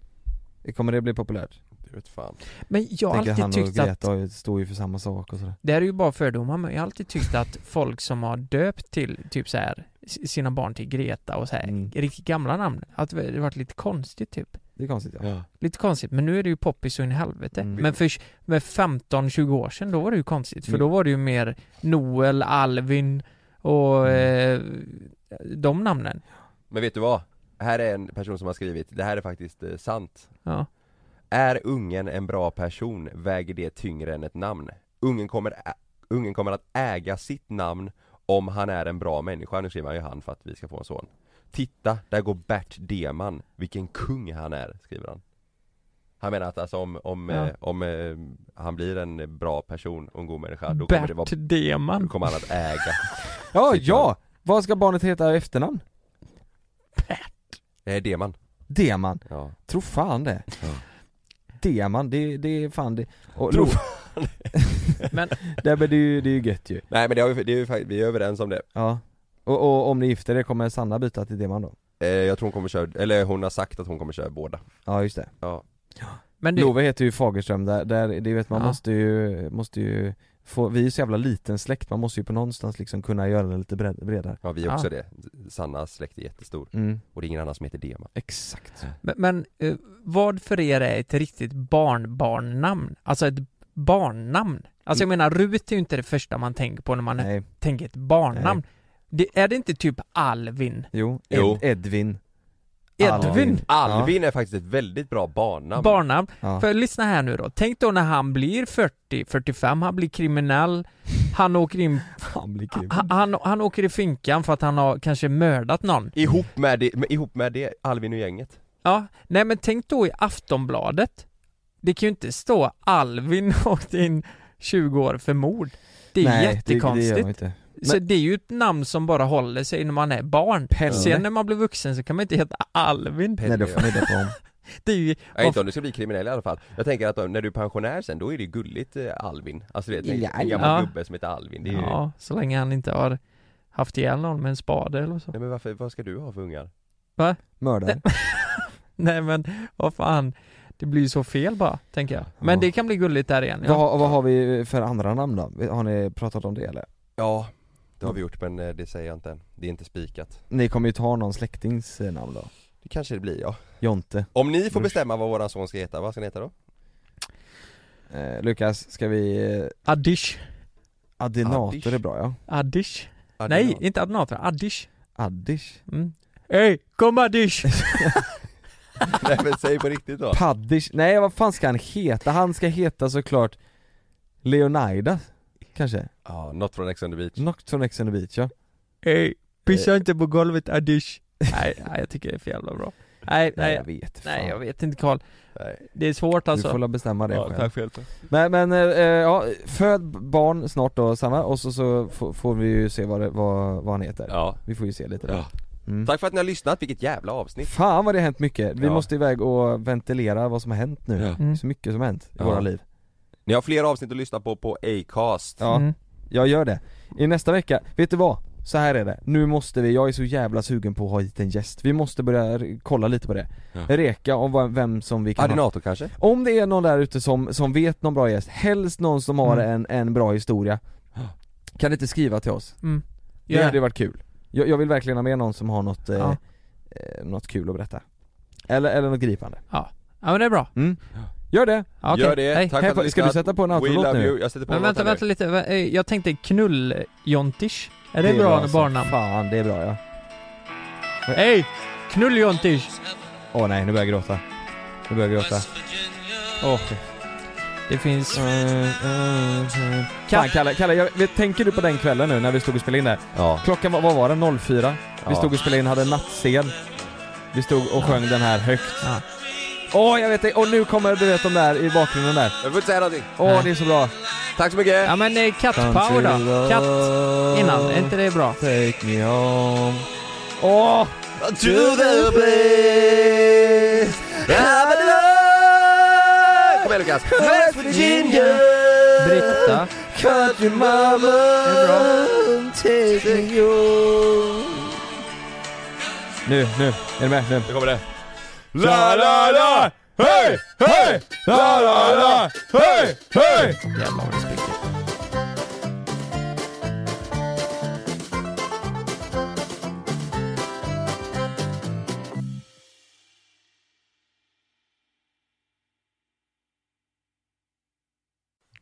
Kommer det bli populärt? Det vet fan. Men jag har Tänker han alltid och tyckt att, Greta har ju- står ju för samma sak och sådär det här är ju bara fördomar, men jag har alltid tyckt att folk som har döpt till typ så här s- sina barn till Greta och så här, Mm. riktigt gamla namn, att det har varit lite konstigt typ. Det är konstigt ja Lite konstigt, men nu är det ju poppis så in i helvete. Mm. Men för med 15-20 år sedan, då var det ju konstigt. För Mm. då var det ju mer Noel, Alvin och Mm. eh, de namnen. Men vet du vad? Här är en person som har skrivit, det här är faktiskt eh, sant Ja. Är ungen en bra person väger det tyngre än ett namn Ungen kommer, ä- ungen kommer att äga sitt namn om han är en bra människa, nu skriver han ju han för att vi ska få en son Titta, där går Bert Deman, vilken kung han är, skriver han Han menar att alltså om, om, Ja. eh, om eh, han blir en bra person och en god människa då kommer, det vara, Bert då Deman. kommer han att äga Ja, Sitt namn. ja! Vad ska barnet heta i efternamn? Nej, Deman Deman, ja. tro fan det Ja. Deman, det, det är fan det och, Tro Lo- <laughs> Men- Nej men det är ju, det är ju gött ju Nej men det har vi, det är, ju fakt- vi är överens om det Ja och, och om ni gifter er kommer Sanna byta till Deman då? Eh, jag tror hon kommer köra, eller hon har sagt att hon kommer köra båda Ja just det Ja, Men det, Love heter ju Fagerström där, där det vet man Ja. måste ju, måste ju får, vi är ju så jävla liten släkt, man måste ju på någonstans liksom kunna göra det lite bred, bredare Ja vi är också Ja. det, Sannas släkt är jättestor mm. och det är ingen annan som heter Dema Exakt Men, men eh, vad för er är ett riktigt barnbarnnamn? Alltså ett barnnamn? Alltså jag menar, Rut är ju inte det första man tänker på när man Mm. Nej, tänker ett barnnamn. Det, är det inte typ Alvin? jo, Ed, Jo. Edvin Edvin? Alvin är faktiskt ett väldigt bra barnnamn Barnnamn. Ja. För lyssna här nu då. Tänk då när han blir 40, 45, han blir kriminell, han åker in, Fan, blir kul. han, han, han åker i finkan för att han har kanske mördat någon. Ihop med det, med, ihop med det Alvin och gänget Ja, nej men tänk då i Aftonbladet. Det kan ju inte stå Alvin <laughs> åkte in 20 år för mord. Det är Nej, jättekonstigt. det, det gör man inte Så det är ju ett namn som bara håller sig när man är barn. Pelle. Sen när man blir vuxen så kan man inte heta Alvin. Pelle Nej, då och- får ni det på om. Det är ju, Ja, inte om du ska bli kriminell i alla fall. Jag tänker att om- när du är pensionär sen, då är det gulligt eh, Alvin. Alltså du vet, en, en gammal Ja. gubbe som heter Alvin. Det är ju... ja, så länge han inte har haft ihjäl någon med en spade eller så. <laughs> Nej men varför, vad ska du ha för ungar? Mördare Nej men vad fan. Det blir ju så fel bara, tänker jag. Men Ja. det kan bli gulligt där igen. <laughs> vad, Ja. har- vad har vi för andra namn då? Har ni pratat om det eller? Ja, det har vi gjort men eh, det säger jag inte än. Det är inte spikat. Ni kommer ju ta någon släktings eh, namn då? Det kanske det blir ja. Jonte Om ni får Usch. bestämma vad våran son ska heta, vad ska han heta då? eh, Lukas, ska vi... Eh, Adish. Adenator Addish. är bra ja Adish. Nej, Adrian. inte Adnatra. Adish. Addish Mm. Hej, kom Adish! <laughs> Nej men säg på riktigt då. Paddish, nej vad fan ska han heta? Han ska heta såklart Leonidas, kanske? Ja, något från Ex on the beach. Något från Ex on the beach ja Hej, pissa inte på golvet Adish. nej, nej, jag tycker det är för jävla bra. Nej, Nej nej, jag vet fan. nej jag vet inte Karl. Nej. Det är svårt Du alltså. får la bestämma det själv för hjälpen. Men, men eh, eh, ja, föd barn snart då Sanna och så, så får- får vi ju se vad, det, vad, vad han heter Ja. Vi får ju se lite där ja. mm. Tack för att ni har lyssnat, vilket jävla avsnitt. Fan vad det har hänt mycket, vi Ja. måste iväg och ventilera vad som har hänt nu Ja. Mm. Så mycket som har hänt i Ja. våra liv Ni har fler avsnitt att lyssna på på Acast. Ja, Mm. jag gör det. I nästa vecka, vet du vad? Så här är det, nu måste vi, jag är så jävla sugen på att ha hit en gäst. Vi måste börja r- kolla lite på det. Ja. Reka om vad- vem som vi kan ha. Adinator kanske? Om det är någon där ute som, som vet någon bra gäst, helst någon som har Mm. en, en bra historia. Kan inte skriva till oss? Mm. Det Gör det. hade varit kul. Jag, jag vill verkligen ha med någon som har något, eh, Ja. eh, något kul att berätta. Eller, eller något gripande. Ja men det är bra. Gör det! Ja, okej. Gör det, Hej. tack Hej för på- att ni ska du lyssnat. sätta på en We autolåt love nu? you. Jag sätter på Men en vänta, låt här vänta lite. Va- eh, Jag tänkte knull-jontish. Är det, bra, med som barnnamn? alltså. Fan, det är bra ja. Hej! Knull-jontish! Åh nej, nu börjar jag gråta. Nu börjar jag gråta. Åh, Det finns... Fan Kalle, Kalle jag, vet- tänker du på den kvällen nu när vi stod och spelade in där? Ja. Klockan var, vad var den? 04? Vi Ja. stod och spelade in, hade en nattscen. Vi stod och sjöng den här högt. Ja. Åh, jag vet det! Och nu kommer du vet de där i bakgrunden där. Jag får inte säga någonting. Åh, Nej. det är så bra. Tack så mycket! Ja men eh, kattpower då. Katt innan, är inte det bra? Take me home. Åh! To the place I belong Kom igen Lukas! West Virginia Britta. Country mama Take me home. Nu, nu, är du med? Nu. Nu kommer det. La la la, hej, hej! La la la, hej, hej! Jävlar vad det spricker.